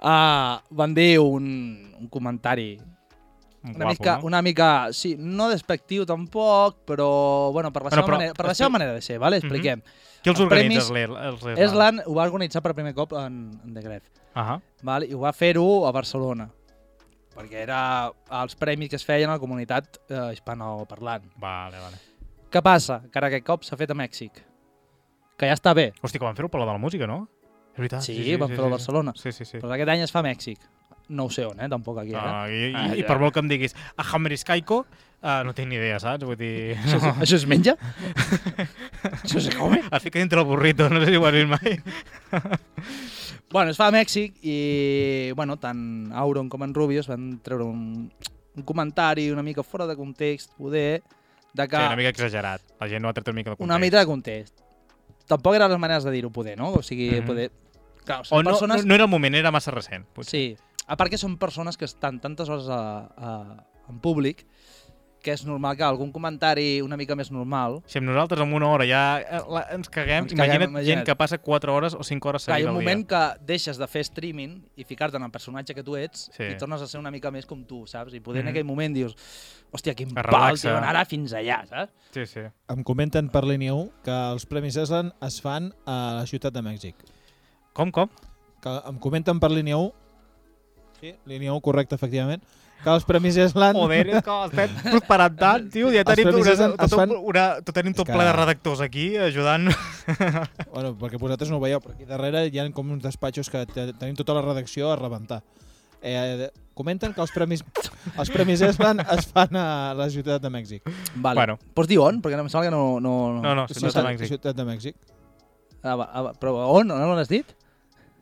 S3: uh, van dir un, un comentari una
S2: Guapo,
S3: mica,
S2: no?
S3: una mica, sí, no despectiu tampoc, però bueno, per la,
S2: Bueno,
S3: bueno, seva,
S2: però-
S3: manera, per la seva
S2: expli-
S3: manera de ser, vale?
S2: Mhm.
S3: expliquem. Mm
S2: Qui els
S3: els
S2: organitza?
S3: premis-
S2: Els, els,
S3: -hmm. Eslan ho va organitzar per primer cop en, en The Gref.
S2: Ahà.
S3: val? i ho va fer-ho a Barcelona perquè era els premis que es feien a la comunitat eh, hispanoparlant.
S2: Vale, vale.
S3: Què passa? Que ara aquest cop s'ha fet a Mèxic. Que ja està bé,
S2: Hosti, que van fer-ho per la de la música, no? És veritat.
S3: Sí, van fer-ho a Barcelona.
S2: Ah, Sí, sí, sí.
S3: però aquest any es fa a Mèxic. No ho sé on, eh? Tampoc aquí,
S2: Ah,
S3: ara.
S2: i, i,
S3: Ah,
S2: I
S3: ja.
S2: per molt que em diguis a Hammeriscaico, uh, no tinc ni idea, saps? Vull dir...
S3: Això, es- això es menja? això se come?
S2: Es fica dintre el burrito, no sé si ho has vist mai.
S3: Bueno, es fa a Mèxic i, bueno, tant Auron com en Rubio es van treure un, un comentari una mica fora de context, poder, de que...
S2: Sí, una mica exagerat. La gent no ha tret una mica de
S3: una mica de context. Tampoc eren les maneres de dir-ho poder, no? O sigui,
S2: Mhm.
S3: poder... Clar, són
S2: O no,
S3: persones...
S2: no, no era el moment, era massa recent. Potser.
S3: Sí, a part que són persones que estan tantes hores a, a, en públic que és normal que algun comentari una mica més normal...
S2: Si amb nosaltres en una hora ja eh, la, ens caguem,
S3: Ens
S2: ens
S3: caguem,
S2: imagina't, gent
S3: imagina't.
S2: que passa 4 hores o 5 hores
S3: Clar, hi
S2: seguint
S3: ha un
S2: al
S3: moment
S2: dia.
S3: que deixes de fer streaming i ficar-te en el personatge que tu ets
S2: Sí.
S3: i tornes a ser una mica més com tu, saps? I poder
S2: Mhm.
S3: en aquell moment dius hòstia, quin
S2: Es
S3: pal,
S2: relaxa.
S3: tio, ara fins allà, saps?
S2: Sí, sí.
S4: Em comenten per línia 1 que els Premis Eslan es fan a la ciutat de Mèxic.
S2: Com, com?
S4: Que em comenten per línia 1, sí, línia 1 correcte, efectivament, que els Premis Eslan...
S2: Joder, és que estem preparant tant, tio. Ja
S4: Els
S2: tenim,
S4: premis
S2: una,
S4: es fan-
S2: tot,
S4: es fan-
S2: un- una, tot tenim tot
S4: És que-
S2: ple de redactors aquí ajudant.
S4: Bueno, perquè vosaltres no ho veieu, però aquí darrere hi ha com uns despatxos que te- tenim tota la redacció a rebentar. Eh, comenten que els premis, els premis Eslan es fan a la ciutat de Mèxic.
S3: Vale.
S2: Bueno.
S3: Pots dir on? Perquè no em sembla que no... No,
S2: No, no,
S4: Sí,
S2: ciutat de
S4: la
S2: Mèxic.
S4: ciutat de Mèxic.
S3: Ah, va, ah, va, però on? On has dit?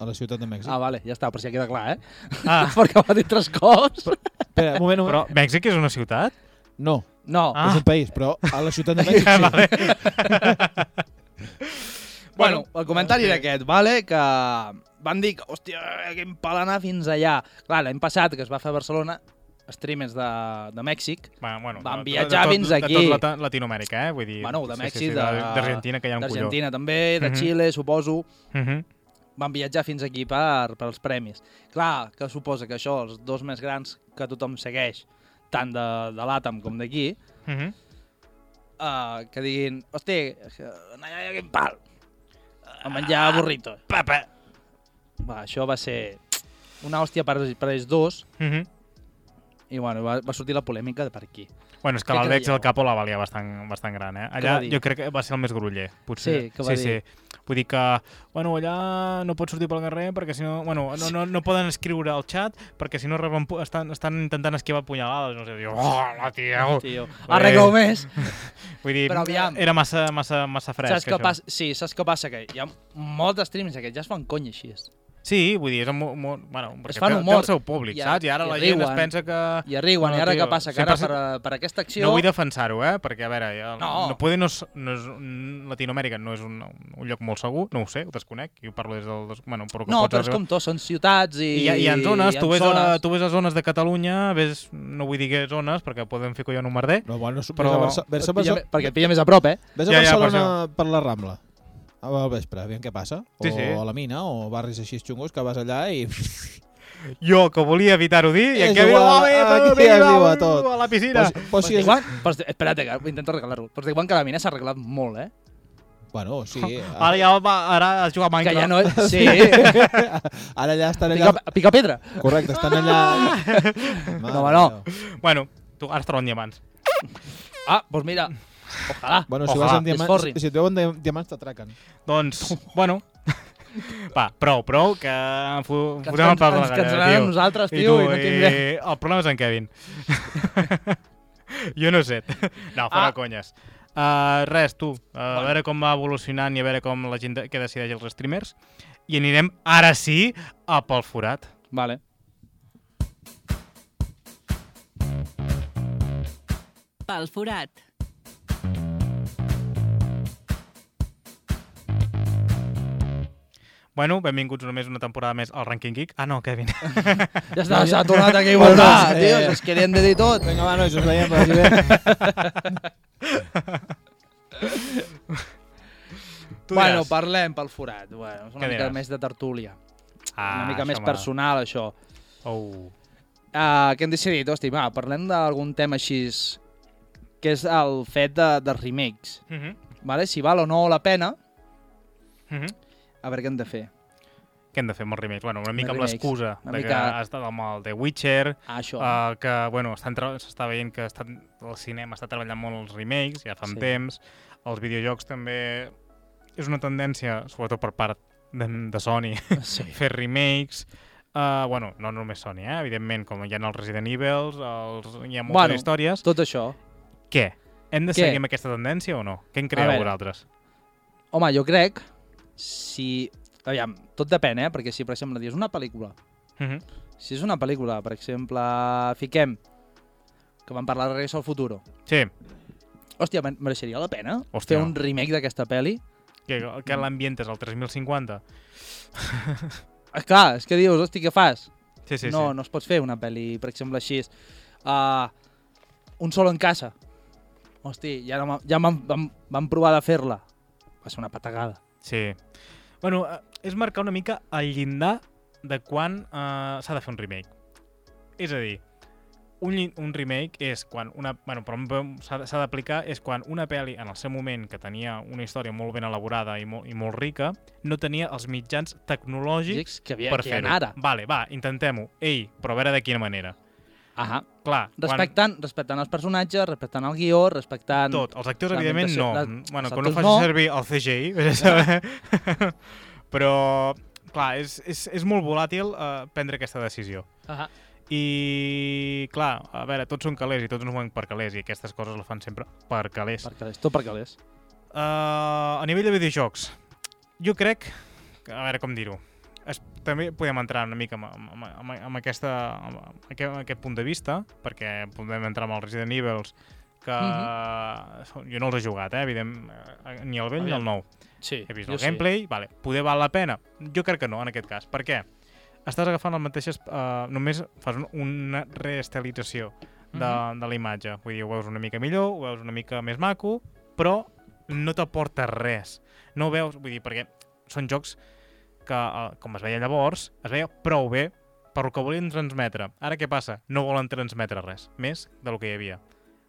S4: a la ciutat de Mèxic.
S3: Ah, vale, ja està, per si ja queda clar, eh?
S2: Ah.
S3: Perquè m'ha dit tres cops.
S4: Espera, un moment, un
S2: Però
S4: moment.
S2: Mèxic és una ciutat?
S4: No,
S3: No,
S2: Ah.
S4: és un país, però a la ciutat de Mèxic sí.
S2: vale.
S3: Bueno, el comentari era aquest, vale? que van dir que, hòstia, que impala anar fins allà. Clar, l'any passat, que es va fer a Barcelona, streamers de, de Mèxic,
S2: Va, bueno,
S3: Van
S2: de-
S3: viatjar
S2: de tot,
S3: fins aquí.
S2: De tot Lata- Latinoamèrica, eh? Vull dir,
S3: bueno, de Mèxic,
S2: de-
S3: de-
S2: d'Argentina, que hi ha un colló.
S3: d'Argentina també, de
S2: Mhm.
S3: Xile, suposo,
S2: Mhm.
S3: van viatjar fins aquí per, per els premis. Clar, que suposa que això, els dos més grans que tothom segueix, tant de, de l'Àtom com d'aquí,
S2: Mhm.
S3: uh, que diguin, hòstia, anar allà que impal, a menjar
S2: Ah.
S3: burrito.
S2: Papa!
S3: Va, això va ser una hòstia per, per ells dos,
S2: Mhm.
S3: i bueno, va, va sortir la polèmica de per aquí.
S2: Bueno, és que
S3: Què
S2: l'Aldex
S3: creieu?
S2: el Capo la valia bastant, bastant gran, eh?
S3: va
S2: Allà
S3: dir?
S2: jo crec que va ser el més gruller, potser.
S3: Sí, què va
S2: sí,
S3: dir?
S2: sí. Vull dir que, bueno, allà no pots sortir pel carrer perquè si no... Bueno, no, no, no poden escriure al xat perquè si no reben, pu- estan, estan intentant esquivar punyalades, no sé, diu, oh, la tio.
S3: Tio, arregla-ho més.
S2: Vull dir,
S3: Però aviam.
S2: era massa, massa, massa fresc,
S3: Saps què
S2: això.
S3: passa? Sí, saps què passa? Que hi ha molts streams que ja es fan conya així.
S2: Sí, vull dir, és un humor... Bueno, perquè
S3: fan
S2: té-
S3: humor.
S2: Té el seu públic,
S3: I a-
S2: saps? I ara
S3: i
S2: la gent es
S3: riuen.
S2: pensa que...
S3: I arriben,
S2: No,
S3: no, i ara
S2: tio,
S3: què passa? Que ara per,
S2: sempre
S3: per aquesta acció...
S2: No vull defensar-ho, eh? Perquè, a veure, el,
S3: No.
S2: no poder no és, no és, Latinoamèrica no és un, un lloc molt segur, no ho sé, ho desconec, jo parlo des del... Des, bueno, però que
S3: no
S2: pots
S3: però és com tot, són ciutats i...
S2: I, hi ha- hi ha zones, tu
S3: hi ha
S2: ves, zona,
S3: zones.
S2: tu ves a zones de Catalunya, ves, no vull dir que zones, perquè podem fer collon un merder.
S4: No, bueno, però...
S2: Però-
S4: Ves a, Barce- ves a,
S3: Et pilla,
S4: Barce-
S3: me- perquè et pilla més a prop, eh?
S4: ves a
S2: Ja, ja, per
S4: Barcelona per la Rambla al vespre, aviam què passa. O
S2: Sí, sí.
S4: a la mina, o barris així xungos, que vas allà i...
S2: Jo, que volia evitar-ho dir, i
S4: És
S2: aquí diu,
S4: igual,
S2: "Home,
S4: aquí
S2: vinga,
S4: es diu a
S2: va,
S4: tot."
S2: a la piscina.
S4: Però, si- però si
S3: Pots dir,
S4: és...
S3: Quan, pots dir, espera't, que ho intento arreglar-ho. Pots dir, quan que la mina s'ha arreglat molt, eh?
S4: Bueno, sí.
S2: Ara ja va, ara has jugat a
S3: Que
S2: Minecraft.
S3: ja no és... Sí,
S4: Ara allà estan allà...
S3: pica, pica pedra.
S4: Correcte, estan allà... Mare
S3: No, home, no.
S4: meva.
S2: Bueno, tu, ara es troben diamants.
S3: Ah, doncs mira, ojalà.
S4: Bueno, si
S2: Ojalà.
S4: vas amb
S3: Es
S4: diamants,
S3: forrin.
S4: si et veuen de- diamants t'atraquen.
S2: Doncs, bueno... Va, prou, prou, que en fo-
S3: Que ens
S2: fotem el pal de la
S3: ens
S2: galleda,
S3: cansaran
S2: tio.
S3: a nosaltres,
S2: I
S3: tio,
S2: tu,
S3: i no tindrem-
S2: eh, El problema és en Kevin. jo no sé. No, fora
S3: Ah.
S2: ah. conyes. Uh, res, tu, uh, a veure com va evolucionant i a veure com la gent de, que decideix els streamers. I anirem, ara sí, a pel forat.
S3: Vale.
S1: Pel forat.
S2: Bueno, benvinguts només una temporada més al Ranking Geek. Ah, no, Kevin.
S3: Ja està, s'ha tornat aquí a igualtar,
S4: Bueno,
S3: tio,
S4: eh.
S3: és que li hem de dir tot.
S4: Vinga, va, nois, us veiem. que vagi bé.
S2: Tu
S3: bueno,
S2: diràs.
S3: parlem pel forat. Bueno, és una
S2: Què
S3: mica
S2: diràs?
S3: més de tertúlia.
S2: Ah,
S3: una mica
S2: això
S3: més
S2: m'agrada.
S3: personal, això.
S2: Oh.
S3: Uh, que hem decidit, hòstia, va, parlem d'algun tema així que és el fet de, de remakes.
S2: Mhm,
S3: Vale? Si val o no la pena,
S2: mhm.
S3: a veure què hem de fer.
S2: Què hem de fer amb els remakes? Bueno, una mica amb
S3: remakes.
S2: l'excusa
S3: Una
S2: de que
S3: mica-
S2: ha estat amb el The Witcher,
S3: Ah, això. Uh,
S2: uh, que, bueno, estan tra- s'està veient que estan, el cinema està treballant molt els remakes, ja fa un
S3: Sí.
S2: temps. Els videojocs també... És una tendència, sobretot per part de, de Sony,
S3: sí.
S2: fer remakes. Uh, bueno, no només Sony, eh? evidentment, com hi ha els Resident Evil, els... hi ha moltes
S3: Bueno.
S2: bueno. històries.
S3: Tot això.
S2: Què? Hem de
S3: Què?
S2: seguir amb aquesta tendència o no? Què en
S3: A
S2: creieu
S3: veure.
S2: vosaltres?
S3: Home, jo crec, si... Aviam, tot depèn, eh? Perquè si, per exemple, dius una pel·lícula,
S2: Uh -huh.
S3: si és una pel·lícula, per exemple, fiquem que vam parlar de Regreso al Futuro.
S2: Sí,
S3: Hòstia, men- mereixeria la pena
S2: Hòstia.
S3: fer un remake d'aquesta pel·li?
S2: que, que l'ambientes al 3050.
S3: Eh, clar, és que dius, hòstia, què fas?
S2: Sí, sí,
S3: no,
S2: sí.
S3: no es pot fer una pel·li, per exemple, així. Uh, un solo en casa. Hosti, ja, no, ja vam, vam, vam provar de fer-la. Va ser una patagada.
S2: Sí. Bueno, eh, és marcar una mica el llindar de quan eh, s'ha de fer un remake. És a dir, un, lli- un remake és quan una... Bueno, però un- s'ha de- s'ha d'aplicar és quan una pel·li en el seu moment que tenia una història molt ben elaborada i molt, i molt rica, no tenia els mitjans tecnològics
S3: Gics, que havia
S2: per
S3: que hi ha
S2: fer-ho.
S3: ara.
S2: Vale, va, intentem-ho. Ei, però a veure de quina manera.
S3: Ahà.
S2: Clar, quan,
S3: Respectant, respectant els personatges, respectant el guió, respectant...
S2: tot. Els actors,
S3: la
S2: evidentment, no.
S3: ambientació-
S2: La...
S3: la-
S2: Bueno,
S3: els
S2: que no
S3: actors
S2: faci
S3: no.
S2: servir el CGI, vés a saber. però, clar, és, és, és molt volàtil eh, prendre aquesta decisió.
S3: Ahà.
S2: I, clar, a veure, tots són calés i tots ens mouen per calés i aquestes coses les fan sempre per calés. Per...
S3: Per calés, tot per calés.
S2: Eh, Uh, a nivell de videojocs, jo crec... que- A veure com dir-ho. es, també podem entrar una mica amb, amb, amb, amb, aquesta, amb, aquest, amb aquest punt de vista, perquè podem entrar amb els Resident Evils, que uh -huh. jo no els he jugat, eh, evident, eh, ni el vell ni el nou.
S3: Sí,
S2: He vist el gameplay, vale. poder val la pena? Jo crec que no, en aquest cas. Per què? Estàs agafant les mateixes... Uh, només fas un, una reestilització de, mm
S3: Mhm.
S2: -hmm. de la imatge. Vull dir, ho veus una mica millor, ho veus una mica més maco, però no t'aporta res. No ho veus... Vull dir, perquè són jocs que, uh, com es veia llavors, es veia prou bé per el que volien transmetre. Ara què passa? No volen transmetre res, més del que hi havia.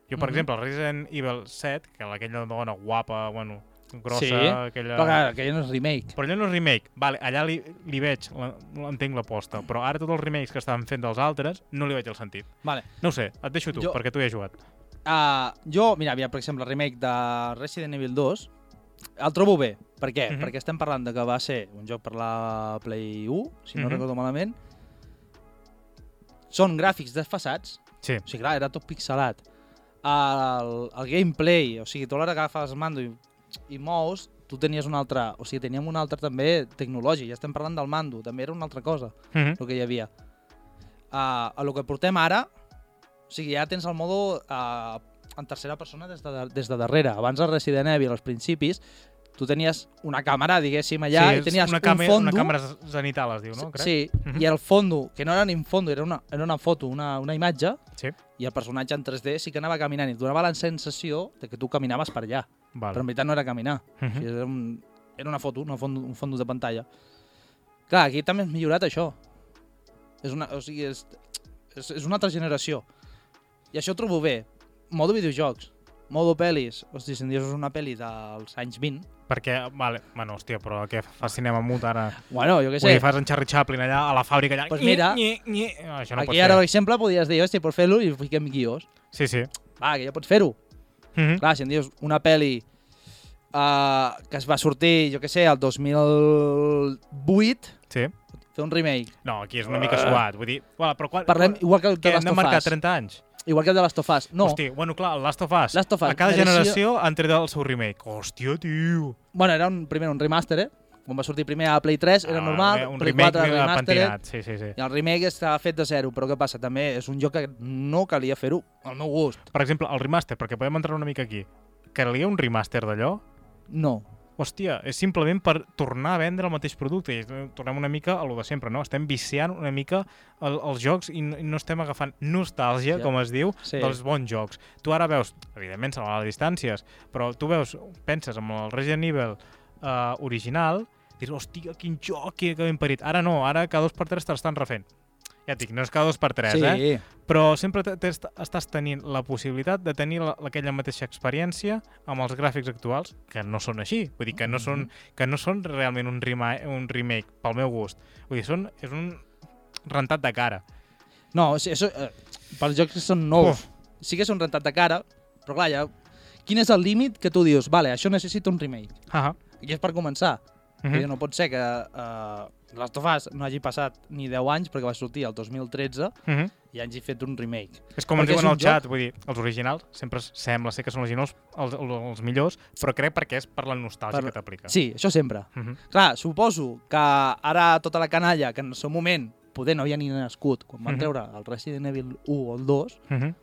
S2: Jo, per mm
S3: Mhm.
S2: -hmm. exemple, Resident Evil 7, que aquella dona guapa, bueno, grossa,
S3: Sí,
S2: aquella...
S3: Però clar, aquell no és remake.
S2: Però allò no és remake. Vale, allà li, li veig, la- l'entenc l'aposta, però ara tots els remakes que estaven fent dels altres no li veig el sentit.
S3: Vale.
S2: No ho sé, et deixo tu,
S3: Jo-
S2: jo... perquè tu hi has jugat.
S3: Uh, jo, mira, aviam, per exemple, el remake de Resident Evil 2, el trobo bé. Per què?
S2: Mhm.
S3: Perquè estem parlant de que va ser un joc per la Play 1, si no
S2: Mhm.
S3: recordo malament. Són gràfics desfassats,
S2: Sí.
S3: o sigui, clar, era tot pixelat. El, el gameplay, o sigui, tu a l'hora que agafes el mando i, i mous, tu tenies un altre, o sigui, teníem un altre també tecnològic, ja estem parlant del mando, també era una altra cosa.
S2: Mm -hmm.
S3: el que hi havia. Uh, a lo que portem ara, o sigui, ja tens el modo uh, en tercera persona des de, des de darrere. Abans a Resident Evil, als principis, tu tenies una càmera, diguéssim,
S2: sí,
S3: allà, i
S2: és
S3: tenies
S2: una
S3: un fondo...
S2: Una càmera zenital es diu, no? Crec.
S3: Sí,
S2: Mhm.
S3: i el fondo, que no era ni un fondo, era una, era una foto, una, una imatge,
S2: Sí.
S3: i el personatge en 3D sí que anava caminant i et donava la sensació de que tu caminaves per allà,
S2: Vale.
S3: però en veritat no era caminar.
S2: Mhm.
S3: Sí, era, un, era una foto, una fondo, un fons de pantalla. Clar, aquí també has millorat això. És una, o sigui, és, és, és una altra generació. I això ho trobo bé. Modo videojocs, modo pel·lis. Hosti, si em dius una pel·li dels anys 20...
S2: Perquè, vale, bueno, hòstia, però què fas cinema mut ara?
S3: Bueno, jo què
S2: Sí. Vull
S3: sé.
S2: dir, fas en Charlie Chaplin allà, a la fàbrica allà...
S3: Pues mira,
S2: Nyi, nyi, nyi. No, això no
S3: aquí
S2: pots
S3: ara, per
S2: fer.
S3: exemple, podries dir, hòstia, per fer-lo i fiquem guiós.
S2: Sí, sí.
S3: Va, que ja pots fer-ho.
S2: Mm -hmm.
S3: Clar, si em dius una pel·li uh, que es va sortir, jo què sé, el 2008,
S2: Sí.
S3: fer un remake.
S2: No, aquí és una mica suat. Vull dir, bueno, però quan...
S3: Parlem igual que el de
S2: que hem
S3: Last
S2: de
S3: of
S2: marcar
S3: Us.
S2: 30 anys.
S3: Igual que el de Last of Us. No,
S2: Hosti, bueno, clar, el Last of Us.
S3: Last of Us,
S2: A cada
S3: versió-
S2: generació han tret el seu remake. Hòstia, tio.
S3: Bueno, era un, primer un remaster, eh? Quan va sortir primer a Play 3 era
S2: Ah,
S3: normal,
S2: Un
S3: Play
S2: remake
S3: 4 era remaster, eh?
S2: pentinat, sí, sí, sí.
S3: i el remake està fet de zero, però què passa? També és un joc que no calia fer-ho, al meu gust.
S2: Per exemple, el remaster, perquè podem entrar una mica aquí. Calia un remaster d'allò?
S3: No.
S2: Hòstia, és simplement per tornar a vendre el mateix producte. I eh, tornem una mica a lo de sempre, no? Estem viciant una mica el, els jocs i no, i no estem agafant nostàlgia,
S3: Ja.
S2: com es diu,
S3: Sí.
S2: dels bons jocs. Tu ara veus, evidentment, salvar les distàncies, però tu veus, penses en el Resident Evil eh, original, dius, hòstia, quin joc que que ben parit. Ara no, ara cada dos per tres te l'estan refent. Ja et dic, no és cada dos per tres,
S3: sí,
S2: eh? però sempre te- t'est- estàs tenint la possibilitat de tenir la- aquella mateixa experiència amb els gràfics actuals, que no són així, vull dir que no són,
S3: Mm-hmm.
S2: que no són realment un, rima, un remake, pel meu gust. Vull dir, són, és un rentat de cara.
S3: No, sí, això, eh, pels jocs que són nous, sí que és un rentat de cara, però clar, ja... Quin és el límit que tu dius, vale, això necessita un remake?
S2: Ah,
S3: I és per començar.
S2: uh
S3: Mm -hmm.
S2: -huh.
S3: No pot ser que eh, Last of Us no hagi passat ni 10 anys, perquè va sortir el 2013,
S2: uh -huh.
S3: i hagi fet un remake.
S2: És com ens
S3: Perquè és
S2: diuen al
S3: un joc-
S2: xat, vull dir, els originals sempre s- sembla ser que són els originals els, els millors, però crec perquè és per la nostàlgia
S3: Per-
S2: que t'aplica.
S3: Sí, això sempre.
S2: Uh -huh.
S3: Clar, suposo que ara tota la canalla, que en el seu moment poder no havia ni nascut, quan van
S2: Mhm.
S3: treure el Resident Evil 1 o el 2,
S2: Uh -huh.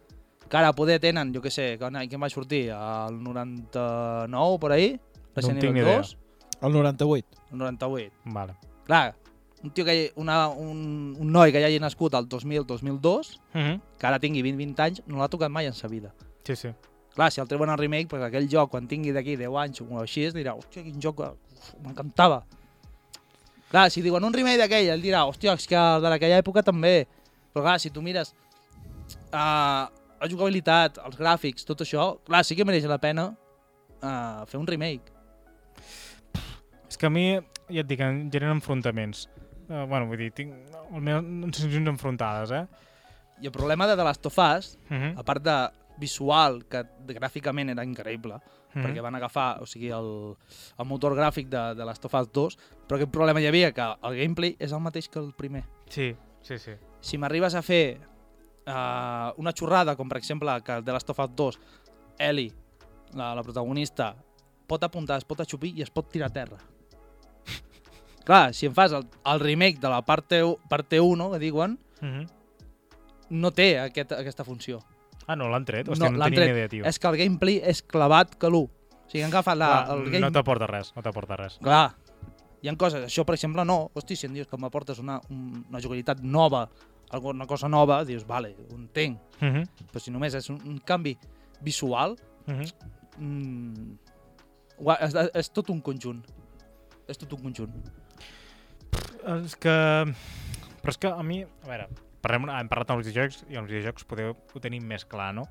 S3: que ara poder tenen, jo què sé, que en què va sortir? El 99, per ahí? Resident
S2: tinc ni
S3: Evil
S2: idea.
S3: 2?
S4: El 98.
S3: El 98.
S2: Vale.
S3: Clar, un, tio que, hi- una, un, un noi que ja hagi nascut al 2000-2002,
S2: Uh -huh.
S3: que ara tingui 20-20 anys, no l'ha tocat mai en sa vida.
S2: Sí, sí.
S3: Clar, si el treuen al remake, pues aquell joc, quan tingui d'aquí 10 anys o així, es dirà, hòstia, quin joc, uf, m'encantava. Clar, si diuen un remake d'aquell, ell dirà, hòstia, és que el de aquella època també. Però clar, si tu mires uh, la jugabilitat, els gràfics, tot això, clar, sí que mereix la pena uh, fer un remake.
S2: És que a mi, ja et dic, em generen enfrontaments. Uh, bueno, vull dir, tinc almenys sensacions enfrontades, eh?
S3: I el problema de The Last of Us,
S2: Uh -huh.
S3: a part de visual, que gràficament era increïble, mm -hmm. perquè van agafar o sigui, el, el motor gràfic de, de Last of Us 2, però aquest problema hi havia que el gameplay és el mateix que el primer.
S2: Sí, sí, sí.
S3: Si m'arribes a fer uh, una xorrada, com per exemple que el de Last of Us 2, Ellie, la, la protagonista, pot apuntar, es pot aixopir i es pot tirar a terra. Clar, si em fas el, el remake de la parte, u- parte 1, que diuen,
S2: Mm -hmm.
S3: no té aquest, aquesta funció.
S2: Ah, no, l'han tret? Hòstia, no, no
S3: l'han
S2: tenia ni idea, tio.
S3: És que el gameplay és clavat que l'1. O sigui, han agafat la,
S2: Clar,
S3: el game...
S2: No t'aporta res, no t'aporta res.
S3: Clar, hi ha coses, això per exemple no, hosti, si em dius que m'aportes una, un- una jugabilitat nova, alguna cosa nova, dius, vale, ho entenc,
S2: Mm -hmm.
S3: però si només és un, un canvi visual,
S2: Mm -hmm.
S3: mm, gua- és, és tot un conjunt. És tot un conjunt.
S2: Eh, És que... Però és que a mi... A veure, parlem, una- hem parlat amb els videojocs i els videojocs podeu ho tenir més clar, no?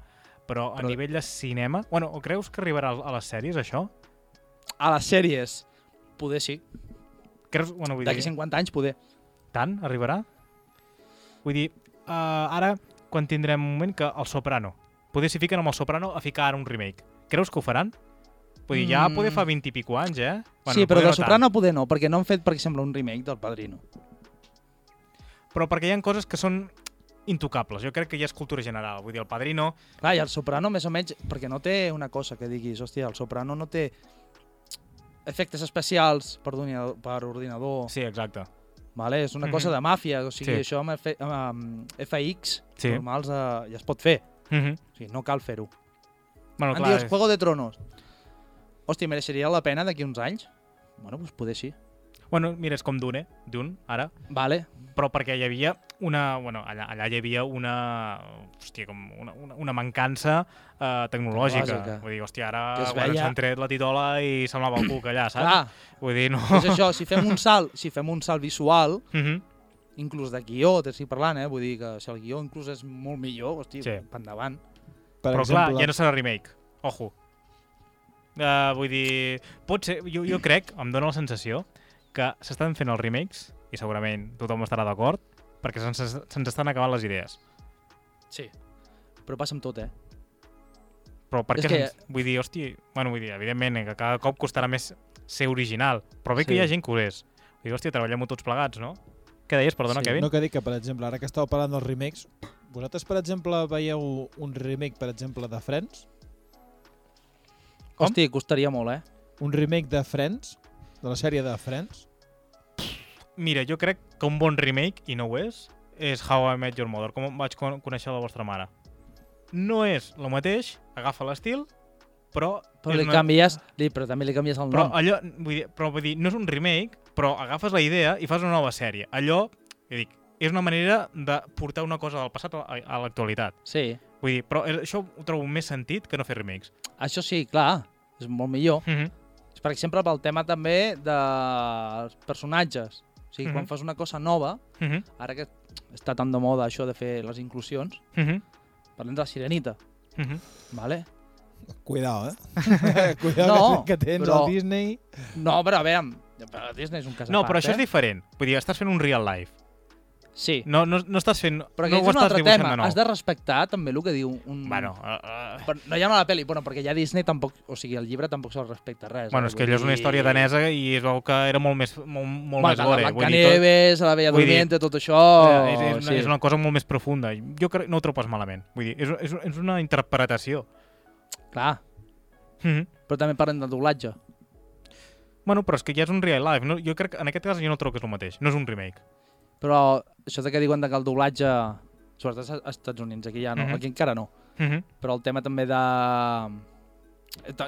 S2: Però a
S3: Però-
S2: Però... nivell de cinema... Bueno, o creus que arribarà a les sèries, això?
S3: A les sèries, poder sí,
S2: Creus... Bueno, vull
S3: d'aquí
S2: dir,
S3: 50 anys poder.
S2: tant arribarà? Vull dir, uh, ara, quan tindrem un moment que el Soprano... Poder si fiquen amb el Soprano a ficar ara un remake. Creus que ho faran? Vull dir, ja
S3: Mm.
S2: poder fa 20 i pico anys, eh?
S3: sí,
S2: poder
S3: però de
S2: no tant.
S3: Soprano poder no, perquè no han fet, per exemple, un remake del Padrino.
S2: Però perquè hi ha coses que són intocables. Jo crec que ja és cultura general. Vull dir, el Padrino...
S3: Clar, i el Soprano més o menys, perquè no té una cosa que diguis, hòstia, el Soprano no té efectes especials per, ordinador, per ordinador,
S2: Sí, exacte.
S3: vale? és una
S2: Mhm.
S3: cosa de màfia, o sigui,
S2: Sí.
S3: això amb, F amb FX
S2: Sí.
S3: normals eh, ja es pot fer,
S2: Mm -hmm.
S3: o sigui, no cal fer-ho.
S2: Bueno,
S3: Han dit el Juego de Tronos. Hòstia, mereixeria la pena d'aquí uns anys? Bueno, doncs poder sí.
S2: Bueno, mira, és com Dune, eh? Dune, ara,
S3: Vale.
S2: però perquè hi havia una... Bueno, allà, allà hi havia una... Hòstia, com una, una, una mancança eh, tecnològica.
S3: Tecnològica.
S2: Vull dir, hòstia, ara
S3: Que es
S2: bueno,
S3: veia-
S2: s'han tret la titola i semblava el cuc allà, saps?
S3: Clar,
S2: Vull dir, no...
S3: és això, si fem un salt, si fem un salt visual,
S2: Mhm.
S3: inclús de guió, t'estic parlant, eh? vull dir que si el guió inclús és molt millor, hòstia,
S2: Sí.
S3: sí. endavant.
S4: Per
S2: però clar,
S4: exemple,
S2: ja no serà remake. Ojo. Uh, vull dir... Pot ser... Jo, jo crec, em dóna la sensació, que s'estan fent els remakes, i segurament tothom estarà d'acord, perquè se'ns se'ns estan acabant les idees.
S3: Sí. Però passa amb tot, eh?
S2: Però per
S3: És
S2: què?
S3: que-
S2: Que... Vull dir, hòstia, bueno, vull dir, evidentment, eh, que cada cop costarà més ser original, però bé sí. que
S3: Sí.
S2: hi ha gent que ho és. Vull dir, hòstia, treballem-ho tots plegats, no? Què deies, perdona,
S4: sí,
S2: Kevin?
S4: no que dic que, per exemple, ara que estàveu parlant dels remakes, vosaltres, per exemple, veieu un remake, per exemple, de Friends?
S2: Com?
S3: Hòstia, costaria molt, eh?
S4: Un remake de Friends? De la sèrie de Friends?
S2: Mira, jo crec que un bon remake, i no ho és, és How I Met Your Mother, com vaig con- conèixer la vostra mare. No és el mateix, agafa l'estil, però...
S3: Però
S2: és
S3: li canvies, li, però també li canvies el
S2: Però,
S3: nom.
S2: allò, vull dir, però vull dir, no és un remake, però agafes la idea i fas una nova sèrie. Allò, jo dic, és una manera de portar una cosa del passat a, a- a l'actualitat.
S3: Sí,
S2: Vull dir, però eh, això ho trobo més sentit que no fer remakes.
S3: això sí, clar, és molt millor.
S2: Mm -hmm.
S3: És, Per exemple, pel tema també dels personatges. O sigui, quan
S2: Mhm.
S3: fas una cosa nova,
S2: Mm -hmm.
S3: ara que està tan de moda això de fer les inclusions,
S2: Mm -hmm.
S3: parlem de la sirenita,
S2: Mm -hmm.
S3: vale?
S4: Cuidao, eh? Cuidao
S3: No,
S4: que, que tens
S3: però-
S4: el Disney.
S3: No, però a veure, però Disney és un cas a
S2: No,
S3: part,
S2: però això és
S3: eh?
S2: diferent. Vull dir, estàs fent un real life.
S3: Sí,
S2: No, no, no estàs fent...
S3: però
S2: no
S3: aquest
S2: ho
S3: és un
S2: estàs
S3: altre
S2: dibuixant
S3: tema.
S2: de nou.
S3: Has de respectar també el que diu un...
S2: Bueno, uh, uh...
S3: Però no hi ha una pel·li, bueno, perquè ja Disney tampoc, o sigui, el llibre tampoc se'l respecta res.
S2: bueno
S3: eh?
S2: és que
S3: Vull
S2: allò és una
S3: dir-
S2: història danesa i es veu que era molt més, molt, molt
S3: Bueno,
S2: més gore.
S3: La
S2: vull dir, tot,
S3: Blancanieves, la Bella
S2: vull dir-
S3: Durmiente, tot això...
S2: eh, és, és, una,
S3: sí.
S2: és una cosa molt més profunda. Jo crec no ho trobes malament. Vull dir, és, és, és una interpretació.
S3: Clar,
S2: Mm -hmm.
S3: però també parlen de doblatge.
S2: Bueno, però és que ja és un real life. No? Jo crec que en aquest cas jo no trobo que és el mateix. No és un remake.
S3: Però això de que diuen de que el doblatge, sobretot als Estats Units, aquí ja no,
S2: Mhm.
S3: aquí encara no.
S2: Mm -hmm.
S3: Però el tema també de...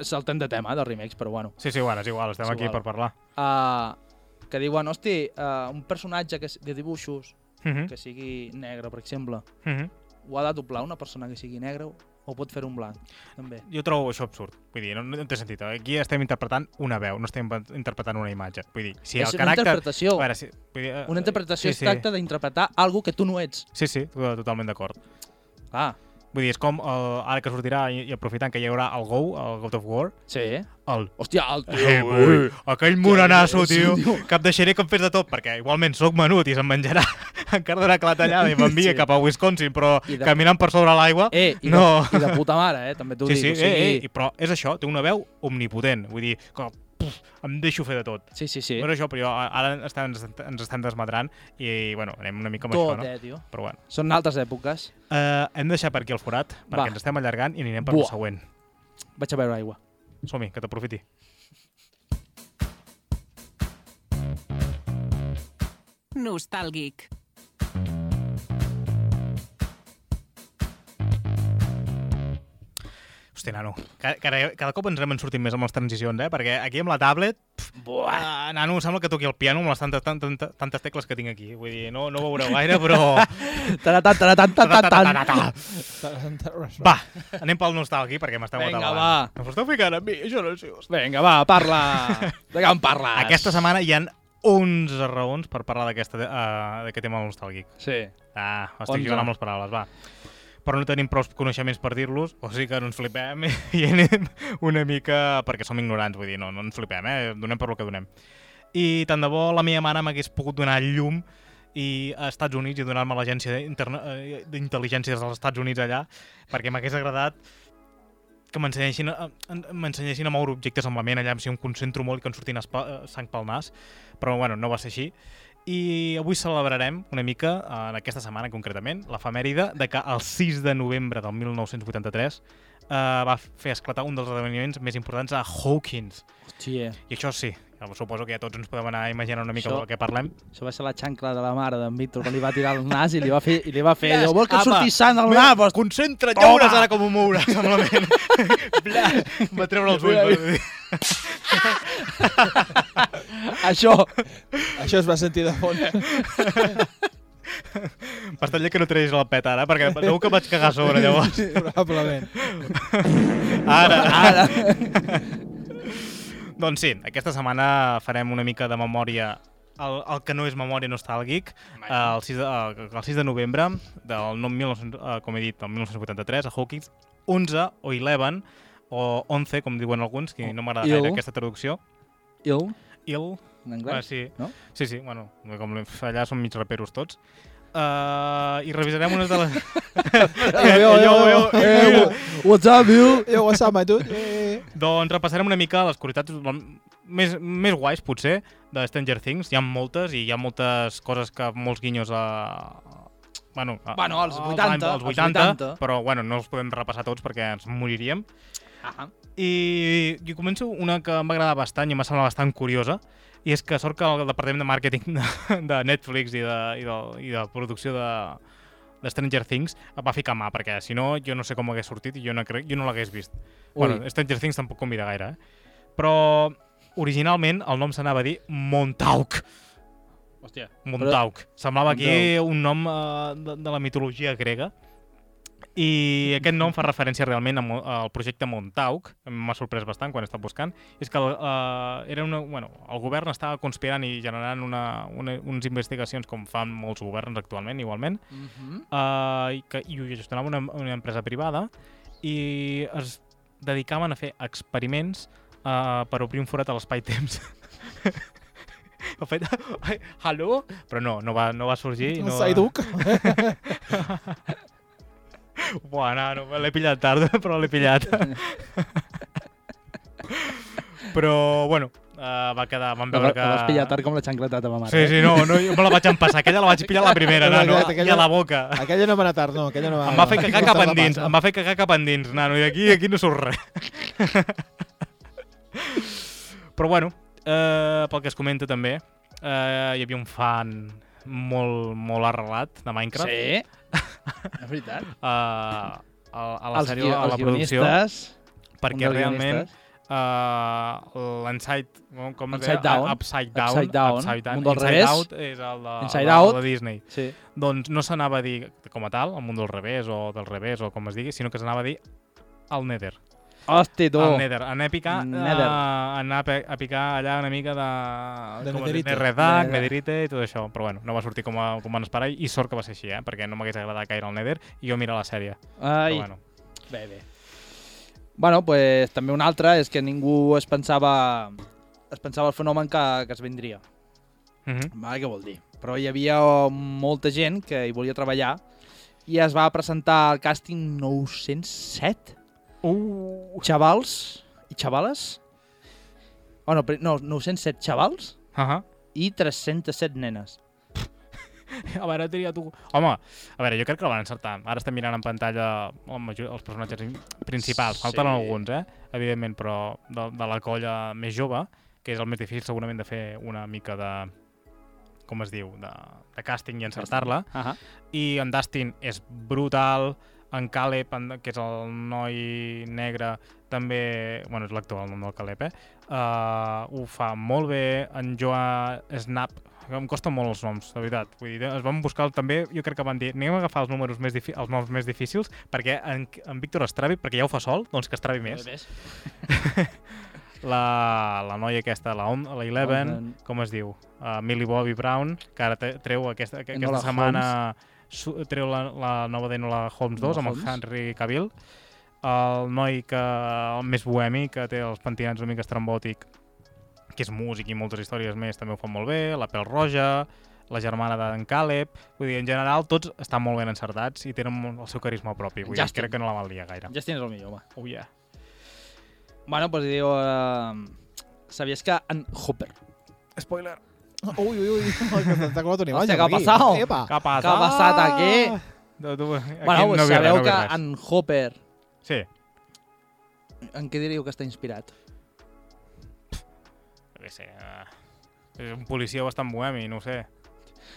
S3: Saltem de tema, de remakes, però bueno.
S2: Sí, sí, bueno, és igual. Estem
S3: És
S2: és aquí
S3: igual.
S2: per parlar.
S3: Uh, que diuen, hosti, uh, un personatge que, s- de dibuixos
S2: Mm -hmm.
S3: que sigui negre, per exemple,
S2: Mm -hmm.
S3: ho ha de doblar una persona que sigui negra o pot fer un blanc, també.
S2: Jo trobo això absurd. Vull dir, no, no té sentit. Aquí estem interpretant una veu, no estem interpretant una imatge. Vull dir, si
S3: és
S2: el
S3: una
S2: caràcter...
S3: interpretació.
S2: A veure, si, vull dir, eh,
S3: Una interpretació
S2: sí,
S3: sí, es tracta d'interpretar algo que tu no ets.
S2: Sí, sí, sí totalment d'acord.
S3: Ah,
S2: Vull dir, és com el, ara que sortirà i, i aprofitant que hi haurà el Go, el God of War,
S3: sí.
S2: el...
S3: Hòstia, el tio,
S2: Eh, ui, aquell moranasso,
S3: Sí,
S2: tio,
S3: tio.
S2: que em deixaré que em fes de tot, perquè igualment sóc menut i se'n menjarà encara d'una clatallada i m'envia
S3: Sí.
S2: cap a Wisconsin, però
S3: I de-
S2: caminant per sobre l'aigua...
S3: Eh, i,
S2: No.
S3: de, i de puta mare, eh? També t'ho
S2: sí,
S3: dic.
S2: sí,
S3: o sigui,
S2: eh, eh, i- però és això, té una veu omnipotent, vull dir, que puf, em deixo fer de tot.
S3: sí, sí, sí.
S2: Però això, però jo, ara estan, ens estan desmadrant i, bueno, anem una mica amb
S3: Tot,
S2: això,
S3: eh, tio.
S2: no? Però bueno.
S3: Són altres èpoques.
S2: Uh, hem de deixar per aquí el forat, perquè
S3: Va.
S2: ens estem allargant i anirem per
S3: Buah.
S2: la següent.
S3: Vaig a beure aigua.
S2: Som-hi, que t'aprofiti.
S1: nostàlgic.
S2: Hosti, nano, ca- cada, cada cop ens anem en sortint més amb les transicions, eh? Perquè aquí amb la tablet, pf, uh, nano, sembla que toqui el piano amb les tantes, tantes, tantes, tantes tecles que tinc aquí. Vull dir, no, no ho veureu gaire, però...
S3: Taratà, taratà, taratà, taratà.
S2: va, anem pel nostàlgic, perquè m'esteu
S3: Vinga,
S2: atabalant.
S3: va.
S2: No us esteu ficant amb mi, això no és just.
S3: Vinga, va, parla. De què en parles?
S2: Aquesta setmana hi han 11 raons per parlar d'aquesta, eh, d'aquest tema nostàlgic.
S3: Sí.
S2: Ah, estic
S3: 11.
S2: jugant amb les paraules, va. Però no tenim prou coneixements per dir-los, o sigui que no ens flipem i anem una mica... Perquè som ignorants, vull dir, no, no ens flipem, eh? Donem per lo que donem. I tant de bo la meva mare m'hagués pogut donar llum i a Estats Units i donar-me l'agència interna- eh, d'intel·ligència dels Estats Units allà, perquè m'hagués agradat que m'ensenyessin a, en- m'ensenyessin a moure objectes amb la ment, allà si em concentro molt i que em sortin espa, eh, sang pel nas, però bueno, no va ser així. I avui celebrarem una mica, eh, en aquesta setmana concretament, l'efemèride de que el 6 de novembre del 1983 eh, va fer esclatar un dels esdeveniments més importants a Hawkins.
S3: Hòstia,
S2: I això sí, suposo que ja tots ens podem anar imaginant una mica
S3: Això-
S2: això... de què parlem.
S3: això va ser la xancla de la mare d'en Víctor, que li va tirar el nas i li va fer... I li va fer
S2: Ves,
S3: allò, vol que
S2: apa,
S3: et surti sang al nas? Pues,
S2: Concentra't,
S3: Toma!
S2: ja veuràs ara com ho mouràs, semblament. Blas, em va treure els ulls. va dir.
S3: això.
S4: Això es va sentir de fons.
S2: Bastalla que no treguis el pet ara, perquè segur que vaig cagar a sobre, llavors.
S4: Probablement.
S2: Ara,
S3: Ara.
S2: Doncs sí, aquesta setmana farem una mica de memòria el, el que no és memòria nostàlgic, eh, el 6 de, el, el 6 de novembre del 1900, eh, com he dit, del 1983, a Hawkins, 11 o 11, o 11, com diuen alguns, que no m'agrada
S3: Il.
S2: gaire aquesta traducció.
S3: Il,
S2: Il,
S3: en
S2: ah,
S3: anglès.
S2: sí.
S3: no?
S2: sí, sí, bueno, com allà som mig raperos tots. Uh, I revisarem unes de les... Eh,
S4: Yo, yo, yo.
S3: Eh, what's up, you?
S4: Yo, what's up, my dude? Eh, eh.
S2: Doncs repassarem una mica les curiositats mm, més, més guais, potser, de Stranger Things. Hi ha moltes i hi ha moltes coses que molts guinyos a... Bueno, a,
S3: Bueno, als
S2: als
S3: 80,
S2: anys- als
S3: als
S2: 80,
S3: 80.
S2: però bueno, no els podem repassar tots perquè ens moriríem.
S3: Ah,
S2: I jo començo una que em va agradar bastant i em va semblar bastant curiosa, i és que sort que el departament de màrqueting de, de Netflix i de, i de, i de producció de, de Stranger Things em va ficar mà, perquè si no jo no sé com hagués sortit i jo no, crec, jo no l'hagués vist.
S3: Ui.
S2: Bueno, Stranger Things tampoc convida gaire, eh? Però originalment el nom s'anava a dir Montauk.
S3: Hòstia.
S2: Montauk. Semblava aquí un nom eh, de, de la mitologia grega. I aquest nom fa referència realment a Mo- al projecte Montauk, m'ha sorprès bastant quan he estat buscant, és que eh, era una, bueno, el govern estava conspirant i generant una, una, unes investigacions com fan molts governs actualment, igualment,
S3: Mm -hmm.
S2: eh, i, que, i ho gestionava una, una empresa privada i es dedicaven a fer experiments eh, per obrir un forat a l'espai-temps. Ho fet... Ai, Hello? Però no, no va, no va sorgir. i No, eh.
S4: Saiduk.
S2: Buah, no, no l'he pillat tard, però l'he pillat. però, bueno, eh, va quedar... Vam
S3: La,
S2: veure
S3: la
S2: que...
S3: vas pillar tard com la xancletat de ma mare. eh?
S2: Sí, sí, no, no, jo me la vaig empassar. Aquella la vaig pillar a la primera,
S4: Aquella-
S2: nano, i
S4: aquella-
S2: a la boca.
S4: Aquella no va anar tard, no. Aquella no va
S2: Em va fer
S4: Ah, no.
S2: cagar cap
S4: Aquesta la
S2: endins,
S4: passa.
S2: em va fer cagar cap endins, nano, i d'aquí aquí no surt res. Però bueno, eh, pel que es comenta també, eh, hi havia un fan molt, molt arrelat de Minecraft.
S3: Sí. És veritat.
S2: Eh, a, a la
S3: Els
S2: sèrie,
S3: gui-
S2: a la
S3: els
S2: producció,
S3: guionistes, un
S2: perquè
S3: dels
S2: realment
S3: guionistes.
S2: uh, l'Inside... Com, com es
S3: Upside
S2: deia?
S3: Down.
S2: Upside Down.
S3: Upside Down,
S2: Upside Down.
S3: Mundo al
S2: Inside
S3: revés.
S2: Out és el de,
S3: Inside
S2: el de,
S3: Out.
S2: el de Disney.
S3: Sí.
S2: Doncs no s'anava a dir com a tal, el món del revés o del revés o com es digui, sinó que s'anava a dir el Nether.
S3: Hosti, tu.
S2: El Nether. Anar a picar,
S3: Nether.
S2: eh, anar a pe- a picar allà una mica de...
S4: De
S2: com es diu?
S4: netherite.
S2: Netherdark,
S3: Nether.
S2: Netherite i tot això. Però bueno, no va sortir com, a, com van esperar i sort que va ser així, eh? Perquè no m'hagués agradat gaire el Nether i jo mira la sèrie.
S3: Ai.
S2: Però bueno,
S3: Bé, bé. Bueno, pues, també un altre és que ningú es pensava es pensava el fenomen que, que es vendria.
S2: uh -huh.
S3: Vale, què vol dir? Però hi havia molta gent que hi volia treballar i es va presentar al càsting 907
S2: Uh.
S3: xavals i xavales. Oh, no, pri- no, 907 xavals
S2: Uh -huh.
S3: i 307 nenes.
S2: A veure, tria tu. Home, a veure, jo crec que la van encertar. Ara estem mirant en pantalla la majoria, els personatges principals. Falten
S3: Sí.
S2: alguns, eh? Evidentment, però de, de la colla més jove, que és el més difícil segurament de fer una mica de... com es diu, de, de càsting i encertar-la.
S3: Ah
S2: I en Dustin és brutal, en Caleb, en, que és el noi negre, també... Bueno, és l'actor, el nom del Caleb, eh? Uh, ho fa molt bé, en Joa Snap, que em costen molt els noms, de veritat. Vull dir, es van buscar també, jo crec que van dir, anem a agafar els, números més difi- els noms més difícils, perquè en, en Víctor es travi, perquè ja ho fa sol, doncs que es travi més. La, la noia aquesta, la, On, la Eleven,
S3: Eleven.
S2: com es diu? Uh, Millie Bobby Brown, que ara te- treu aquesta, que, aquesta
S3: Enola
S2: setmana su, treu la, la nova d'Enola Holmes 2
S3: Enola
S2: amb el
S3: Holmes.
S2: Henry Cavill. El noi que, el més bohemi, que té els pentinats una mica estrambòtic, que és músic i moltes històries més, també ho fan molt bé. La Pèl Roja, la germana d'en Caleb... Vull dir, en general, tots estan molt ben encertats i tenen molt- el seu carisma propi. Vull dir,
S3: Justin.
S2: crec que no la van liar gaire.
S3: Justin és el millor, home.
S2: Oh, yeah.
S3: Bueno, doncs diu... Eh, sabies que en Hopper...
S2: Spoiler.
S4: Em Uy, uy, uy. T'ha colat
S3: Hòstia,
S4: una imatge.
S3: què ha
S4: aquí.
S3: passat?
S4: Epa.
S2: Què ha passat?
S3: Què ha passat Ah. aquí?
S2: No, tu, aquí
S3: bueno,
S2: no
S3: no
S2: ve
S3: sabeu
S2: res, no ve
S3: que
S2: res.
S3: en Hopper...
S2: Sí,
S3: En què diríeu que està inspirat?
S2: jo què sé... eh, És un policia bastant bohemi, no ho sé.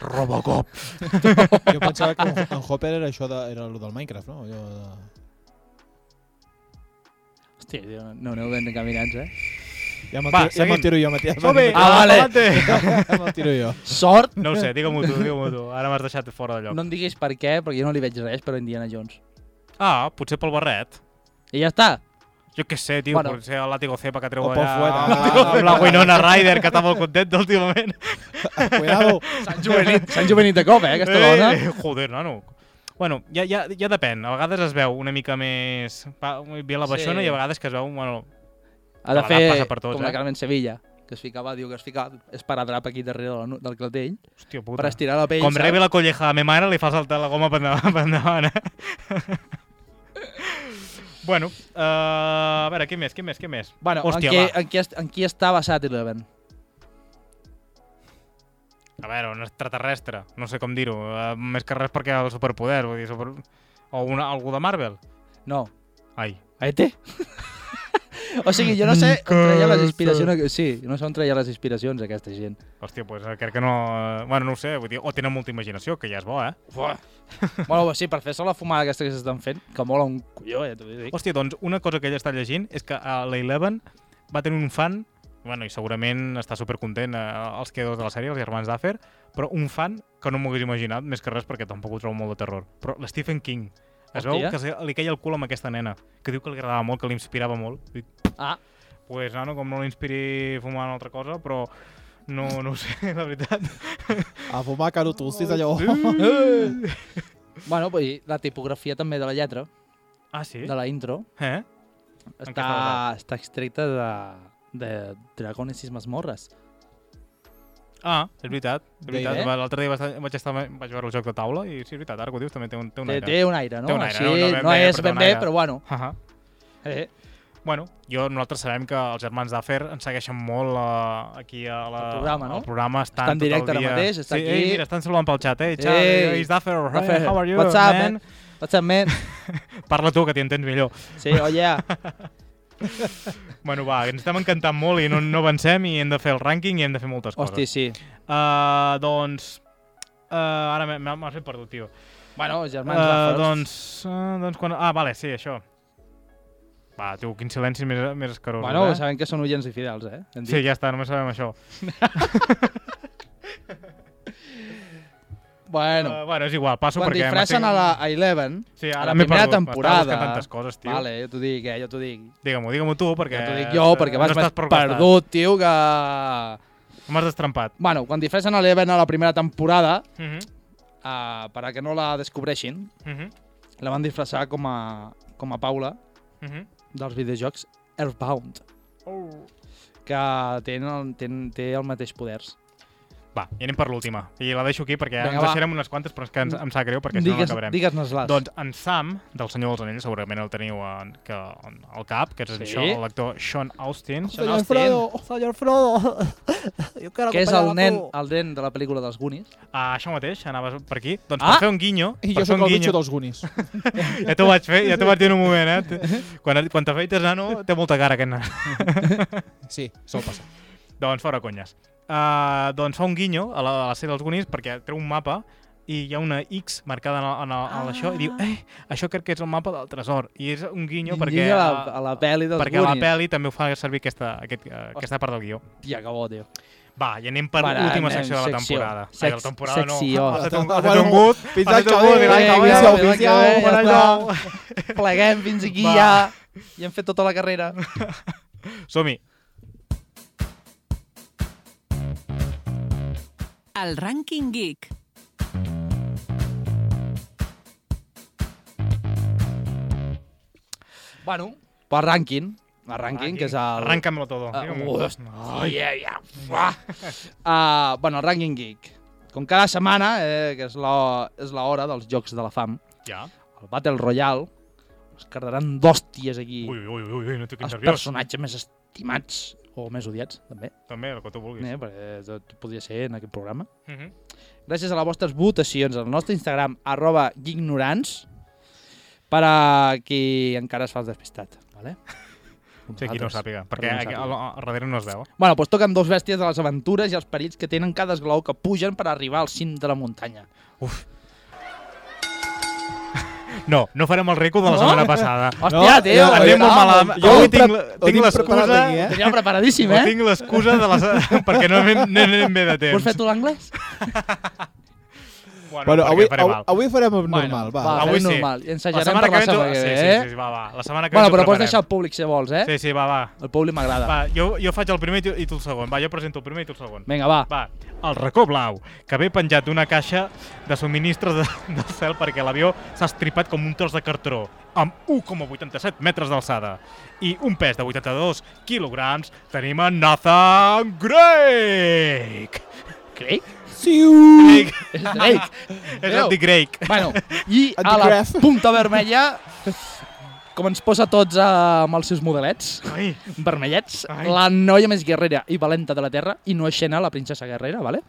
S3: Robocop.
S4: Jo pensava que en Hopper era això de, era el del Minecraft, no? Allò de...
S3: Hòstia, tio, no aneu ben encaminats, eh?
S4: Ja me'l
S2: Va,
S4: tiro, ja me'l
S2: seguim.
S4: tiro jo, Matías.
S2: Molt bé,
S3: Ah, vale.
S2: adelante.
S4: Ja me'l tiro jo.
S3: Sort!
S2: No ho sé, digue-m'ho tu, digue-m'ho tu. Ara m'has deixat fora de lloc.
S3: No em diguis per què, perquè jo no li veig res, però Indiana Jones.
S2: Ah, potser pel barret.
S3: I ja està.
S2: Jo què sé, tio,
S3: Bueno.
S2: bueno. potser el Látigo Cepa que treu
S4: O pel
S2: allà...
S4: fuet,
S2: amb la-
S4: ah.
S2: Amb la Winona Ryder, que està molt contenta últimament.
S4: Cuidado.
S3: S'ha enjuvenit, s'ha enjuvenit de cop, eh, aquesta
S2: Eh,
S3: dona.
S2: eh, Joder, nano. Bueno, ja, ja, ja depèn. A vegades es veu una mica més... Va, bé la baixona
S3: Sí.
S2: sí. i a vegades que es veu... Bueno,
S3: Ha de
S2: l'edat
S3: fer
S2: passa per tots,
S3: com la
S2: eh?
S3: Carmen Sevilla, que es ficava, diu que es ficava esparadrap aquí darrere del, nu- del clatell
S2: hòstia
S3: Puta. per
S2: puta.
S3: estirar la pell,
S2: Com
S3: saps?
S2: rebi la colleja a me mare, li fa saltar la goma per endavant. Per endavant eh? bueno, uh, a veure, què més, què més, què més?
S3: Bueno,
S2: Hòstia,
S3: en, què,
S2: va.
S3: en, què, est- en qui està basat Eleven?
S2: A veure, un extraterrestre, no sé com dir-ho. Uh, més que res perquè el superpoder, vull dir, super... o una, algú de Marvel.
S3: No,
S2: Ai,
S3: ET. o sigui, jo no sé on treia les inspiracions... Sí, no sé on treia les inspiracions aquesta gent.
S2: hòstia, pues, eh, crec que no... eh, Bueno, no ho sé, vull dir, o tenen molta imaginació, que ja és bo, eh?
S3: bueno, sí, per fer-se la fumada aquesta que s'estan fent, que mola un colló, ja t'ho dic.
S2: Hòstia, doncs una cosa que ella està llegint és que a la Eleven va tenir un fan, bueno, i segurament està supercontent eh, els creadors de la sèrie, els germans d'Affer, però un fan que no m'ho hagués imaginat, més que res perquè tampoc ho trobo molt de terror. Però l'Stephen King, es veu
S3: Hòstia.
S2: que se- li queia el cul amb aquesta nena, que diu que li agradava molt, que li inspirava molt. Dic,
S3: Ah,
S2: pues, nano, com no l'inspiri fumant una altra cosa, però no, no ho sé, la veritat.
S4: A fumar carotustis allò.
S3: bueno, pues, i la tipografia també de la lletra,
S2: Ah, sí?
S3: de la intro,
S2: Eh? què està
S3: està,
S2: basat?
S3: està extreta de, de Dragones i Masmorres.
S2: Ah, és veritat. És veritat.
S3: Gairebé.
S2: L'altre dia vaig estar- vaig, estar, vaig veure el joc de taula i sí, és veritat, ara que ho dius, també té un, té un
S3: Té,
S2: aire.
S3: té un aire, no?
S2: Té un aire,
S3: Així,
S2: no? No ben
S3: no,
S2: bé,
S3: és
S2: però té
S3: ben
S2: un
S3: bé,
S2: aire.
S3: però bueno.
S2: Ah, ah.
S3: Eh,
S2: Bueno, jo, nosaltres sabem que els germans d'Afer ens segueixen molt uh, aquí a la,
S3: Al programa, no?
S2: al programa. Estan,
S3: Està en
S2: tot el
S3: directe ara
S2: dia.
S3: mateix, està
S2: sí,
S3: aquí.
S2: Ei, mira, estan saludant pel xat, eh? Xat,
S3: Ei.
S2: hey. d'Afer, Afer, how are you,
S3: What's up,
S2: man?
S3: man? What's up, man?
S2: Parla tu, que t'hi entens millor.
S3: Sí, oh yeah.
S2: Bueno, va, que ens estem encantant molt i no, no avancem i hem de fer el rànquing i hem de fer moltes
S3: Hosti, sí.
S2: coses. Uh, doncs... Uh, ara m'he- m'ha- m'has fet perdut, tio.
S3: Bueno, germans uh,
S2: Uh, doncs, uh, doncs quan... Ah, vale, sí, això. Va, tio, quin silenci més, més escarós.
S3: Bueno,
S2: eh?
S3: sabem que són oients i fidels, eh? Hem
S2: Sí, ja està, només sabem això.
S3: Bueno,
S2: Uh, bueno, és igual, passo
S3: quan
S2: perquè...
S3: disfressen
S2: m'estic-
S3: a la a Eleven,
S2: Sí,
S3: a
S2: ara
S3: la
S2: m'he
S3: primera
S2: perdut, m'estava
S3: temporada...
S2: buscant tantes coses, tio.
S3: Vale, jo t'ho dic, eh? Jo t'ho dic.
S2: Digue-m'ho, digue-m'ho tu, perquè...
S3: Jo t'ho dic jo, perquè vas
S2: no
S3: més
S2: estàs per costat.
S3: perdut, tio, que...
S2: M'has destrampat.
S3: Bueno, quan disfressen a l'Eleven a la primera temporada,
S2: Uh -huh.
S3: uh, per a que no la descobreixin,
S2: Uh -huh.
S3: la van disfressar com a, com a Paula
S2: Uh -huh.
S3: dels videojocs Earthbound,
S2: Oh.
S3: que tenen, tenen, té el mateix poders.
S2: Va, i anem per l'última. I la deixo aquí perquè
S3: Vinga,
S2: Vinga, ens
S3: va.
S2: deixarem unes quantes, però és que ens, em sap greu perquè si no no
S3: digues,
S2: acabarem.
S3: digues-nos les.
S2: Doncs en Sam, del Senyor dels Anells, segurament el teniu en, que, en, al cap, que és
S3: Sí.
S2: sí. això, l'actor Sean Austin.
S3: Sean Austin,
S4: senyor Frodo. Jo quiero
S3: que és el nen, el nen de la pel·lícula dels Goonies.
S2: Ah, això mateix, anaves per aquí. Doncs
S3: Ah!
S2: per fer un guinyo...
S4: I
S2: per fer
S4: jo sóc
S2: un
S4: el
S2: guinyo,
S4: bitxo dels Goonies.
S2: Ja t'ho vaig fer, ja t'ho vaig dir en un moment, eh? T- Quan, quan t'afeites, nano, té molta cara aquest nano.
S4: Sí, sol passar.
S2: Doncs fora conyes. Uh, eh, doncs fa un guinyo a la, a la sèrie dels Goonies perquè treu un mapa i hi ha una X marcada en, el, en, el, en això i diu,
S3: Ah.
S2: eh, això crec que és el mapa del tresor. I és un guinyo perquè...
S3: a la, a la pel·li dels
S2: perquè
S3: Goonies.
S2: la pel·li també ho fa servir aquesta, aquest, eh, aquesta part del guió.
S3: Hòstia, que bo, tio.
S2: Va, i anem per
S3: Vale,
S2: l'última
S3: anem,
S2: secció de la
S3: secció.
S2: temporada.
S3: Sec-
S2: Ai, la temporada
S3: secció.
S2: no. Ha fet un-
S4: Ah,
S2: Ha fet
S4: bueno, eh,
S2: un gut.
S4: fins
S2: Ha fet
S4: l'any
S2: un
S4: que
S2: gut.
S4: ve,
S2: i l'any
S4: vinga,
S2: que ve, Oh,
S4: vinga,
S2: ja ho
S4: vinga,
S2: veus,
S4: vinga,
S2: ja ho
S4: vinga,
S2: veus,
S3: vinga.
S2: ja ho-
S3: Pleguem fins aquí
S2: Va.
S3: ja. I hem fet tota la carrera.
S2: Som-hi.
S1: El rànquing geek.
S3: Bueno, per rànquing. El rànquing, que és el...
S2: Arráncamelo todo. Digue'm.
S3: Uh, yeah, yeah. Uh, bueno, el rànquing geek. Com cada setmana, eh, que és la- és l'hora dels Jocs de la Fam,
S2: Ja.
S3: el Battle Royale, es cardaran d'hòsties aquí
S2: Ui, ui, ui, ui, no estic
S3: els
S2: nerviós.
S3: personatges més estimats o més odiats, també,
S2: També, el que tu vulguis.
S3: eh, perquè tot podria ser en aquest programa.
S2: Mhm.
S3: gràcies a les vostres votacions al nostre Instagram, arroba ignorants, per a qui encara es fa el despistat. Vale?
S2: Sí, qui no ho sàpiga, perquè
S3: no ho
S2: aquí,
S3: sàpiga.
S2: al, al darrere no es veu.
S3: Bueno, doncs toquen dos bèsties de les aventures i els perills que tenen cada esglaó que pugen per arribar al cim de la muntanya.
S2: No, no farem el rico de la
S3: No?
S2: setmana passada.
S3: Hòstia,
S4: No,
S3: tio!
S4: jo-
S2: Anem molt
S4: ah,
S2: malament.
S4: jo
S2: Avui
S4: ho
S2: tinc,
S4: prep- ho
S2: tinc
S4: tinc preparat
S2: l'excusa...
S4: aquí, eh?
S3: Tenia preparadíssim,
S2: Eh?
S3: eh?
S2: Tinc l'excusa de la... se- perquè no anem, no anem bé de temps.
S3: Vols fer tu l'anglès?
S2: Bueno,
S4: Bueno,
S2: perquè
S4: avui,
S2: faré
S4: avui,
S2: mal.
S4: avui farem normal, va.
S3: va
S4: va.
S2: Avui
S3: avui
S2: sí.
S3: normal. I
S2: la
S3: ensajarem
S2: setmana
S3: per
S2: que
S3: la
S2: ve... ens ho-
S3: setmana que
S2: Sí,
S3: ve,
S2: sí,
S3: eh?
S2: sí, sí, va, va. La setmana que ve
S3: Bueno,
S2: ens ho
S3: però pots
S2: preparem.
S3: deixar el públic, si vols, eh?
S2: Sí, sí, va, va.
S3: El públic m'agrada.
S2: Va, jo, jo faig el primer i tu- i tu el segon. Va, jo presento el primer i tu el segon.
S3: Vinga, va.
S2: Va, el racó blau, que ve penjat d'una caixa de subministres de, del cel perquè l'avió s'ha estripat com un tros de cartró, amb 1,87 metres d'alçada. I un pes de 82 quilograms tenim en Nathan Drake!
S3: Craig?
S4: Siu!
S2: Drake.
S3: És Drake.
S2: És Andy Drake.
S3: Bueno, i
S4: Et
S3: a la
S4: graf.
S3: punta vermella, com ens posa a tots eh, amb els seus modelets
S2: Ai,
S3: vermellets,
S2: Ai.
S3: la noia més guerrera i valenta de la Terra, i no aixena la princesa guerrera, vale?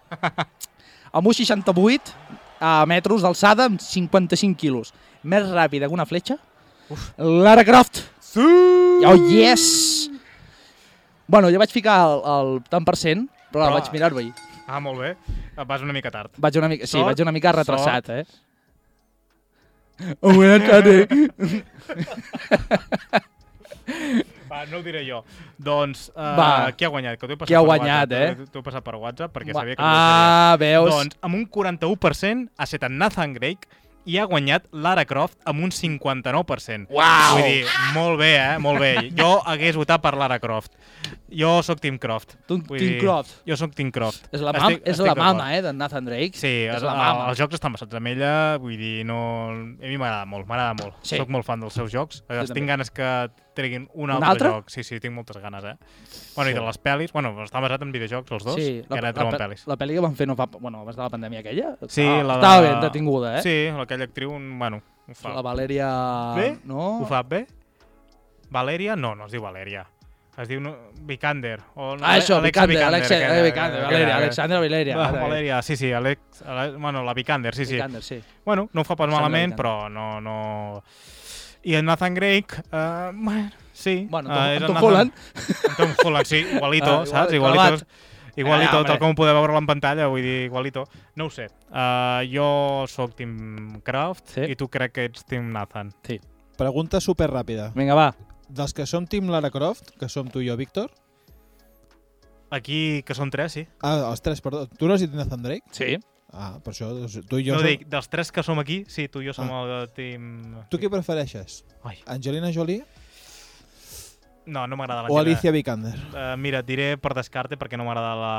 S3: Amb un 68 a metres d'alçada, amb 55 quilos. Més ràpida que una fletxa. Uf. Lara Croft!
S2: sí!
S3: Oh, yes! Bueno, jo vaig ficar el, el tant per cent, però,
S2: Però-
S3: però vaig mirar-ho ahir.
S2: Ah, molt bé. Et vas una mica tard.
S3: Vaig una mica, sí,
S2: Sort,
S3: vaig una mica
S2: sort.
S3: retrasat, eh? Oh, buena tarde.
S2: Va, no ho diré jo. Doncs, uh,
S3: Va.
S2: qui ha guanyat? Que t'ho he passat
S3: Qui ha
S2: per
S3: guanyat,
S2: WhatsApp.
S3: eh?
S2: T'ho he passat per WhatsApp perquè sabia que no ho seria.
S3: ah, veus?
S2: Doncs amb un 41% ha estat en Nathan Drake i ha guanyat Lara Croft amb un 59%.
S3: Uau!
S2: Vull dir, molt bé, eh? Molt bé. Jo hagués votat per Lara Croft. Jo sóc Team Croft.
S3: Tu-
S2: Vull
S3: Team Croft.
S2: Jo sóc Team Croft.
S3: és la, mam, és la mama, eh, d'en Nathan Drake.
S2: Sí,
S3: és
S2: el,
S3: la mama.
S2: els jocs estan basats en ella, vull dir, no... a mi m'agrada molt, m'agrada molt.
S3: Sí.
S2: Soc molt fan dels seus jocs. Jo Tinc
S3: també.
S2: ganes que treguin un altre,
S3: altre?
S2: joc. Sí, sí, tinc moltes ganes, eh? Bueno, i de les pel·lis, bueno, està basat en videojocs, els dos,
S3: sí,
S2: i ara treuen
S3: pe-
S2: pel·lis.
S3: la pel·li que van fer no fa... Bueno, abans de la pandèmia aquella.
S2: Sí,
S3: estava,
S2: la de-
S3: Estava ben detinguda, eh?
S2: Sí, aquella actriu, bueno, ho fa.
S3: La Valeria...
S2: Bé?
S3: No?
S2: Ho fa bé? Valeria? No, no es diu Valeria. Es diu no, Vikander. O,
S3: Ah, això,
S2: Alexa
S3: Vikander, Alexa,
S2: que-
S3: eh, Vikander,
S2: que-
S3: Valeria,
S2: que-
S3: Alexandra Valeria.
S2: Va,
S3: ara, eh?
S2: Valeria, sí, sí, Alex, Ale- bueno, la Vikander, sí, sí.
S3: Vikander, sí.
S2: Bueno, no ho fa pas
S3: Sembla
S2: malament,
S3: Vikander.
S2: però no... no... I en Nathan Drake, eh, bueno, sí.
S3: Bueno,
S2: eh,
S3: Tom-
S2: és
S3: en
S2: en
S3: Tom
S2: Nathan-
S3: Holland.
S2: en Tom Holland, sí, igualito,
S3: Ah,
S2: saps?
S3: igual,
S2: Igualito, igualito,
S3: Eh,
S2: tal
S3: hombre.
S2: com ho podeu veure en pantalla, vull dir, igualito. No ho sé. Uh, jo sóc Team Craft
S3: Sí.
S2: i tu crec que ets Team Nathan.
S4: Pregunta super ràpida.
S3: Vinga, va.
S4: Dels que som Team Lara Croft, que som tu i jo, Víctor...
S2: Aquí, que són tres, sí.
S4: Ah, els tres, perdó. Tu no has dit Nathan Drake?
S3: Sí.
S4: Ah, per això doncs, tu i jo...
S2: Jo no
S4: som-
S2: dic, dels tres que som aquí, sí, tu i jo som el team...
S4: Tu què prefereixes?
S2: Ai.
S4: Angelina Jolie
S2: No, no m'agrada
S4: o
S2: l'Angelina.
S4: Alicia Vikander?
S2: Uh, mira, et diré per descarte perquè no m'agrada la...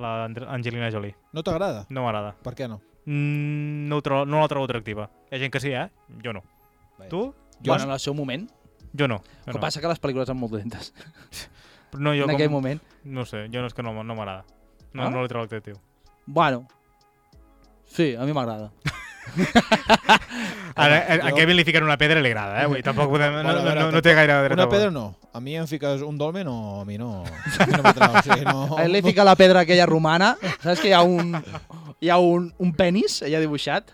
S2: la Andre- Angelina Jolie.
S4: No t'agrada?
S2: No m'agrada.
S4: Per què no?
S2: Mm, no, ho tro- no la trobo atractiva. Hi ha gent que sí, eh? Jo no.
S4: Vaja.
S2: Tu?
S3: Jo bueno, en el seu moment.
S2: Jo no. Jo
S3: El que
S2: no.
S3: passa que les pel·lícules són molt dolentes.
S2: No, jo
S3: en aquell
S2: com...
S3: moment.
S2: No sé, jo no és que no, no m'agrada. No,
S3: Ah?
S2: no li trobo atractiu.
S3: Bueno. Sí, a mi m'agrada. Ah,
S2: Ara, a, a
S4: jo-
S2: Kevin li fiquen una pedra i li agrada, eh? Vull dir, tampoc podem... No,
S4: Bueno, a
S2: no,
S4: veure,
S2: no, no té gaire dret
S4: Una
S2: a
S4: pedra
S2: vot.
S4: no. A mi em fiques un dolmen o a mi no. A mi no m'atrau, o sigui, no.
S3: Oh, Ell li fica la pedra aquella romana. Saps que hi ha un, hi ha un, un penis allà dibuixat?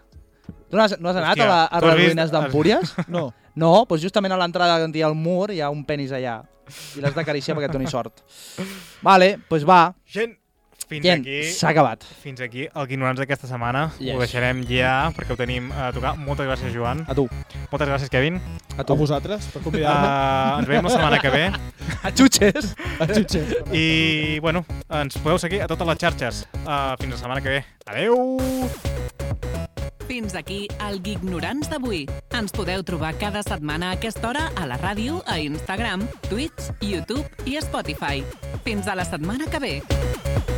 S3: Tu no has, no has anat
S2: Hòstia,
S3: a, la, a
S2: tu has
S3: les
S2: vist-
S3: ruïnes d'Empúries?
S4: No.
S3: No, doncs justament a l'entrada on hi ha el mur hi ha un penis allà. I l'has d'acariciar perquè et doni sort. Vale, doncs va.
S2: Gent, fins
S3: Gent,
S2: aquí...
S3: s'ha acabat.
S2: Fins aquí el Ignorants d'aquesta setmana.
S3: Yes.
S2: Ho deixarem ja perquè ho tenim a tocar. Moltes gràcies, Joan.
S3: A tu.
S2: Moltes gràcies, Kevin.
S3: A
S4: A
S3: tu.
S4: vosaltres, per
S2: Uh,
S4: convidar-me.
S2: ens veiem la setmana que ve.
S3: A xutxes.
S4: A Xutxes.
S2: I, bueno, ens podeu seguir a totes les xarxes. Uh, fins la setmana que ve. Adeu!
S1: Fins aquí el Gignorants d'avui. Ens podeu trobar cada setmana a aquesta hora a la ràdio, a Instagram, Twitch, YouTube i Spotify. Fins a la setmana que ve.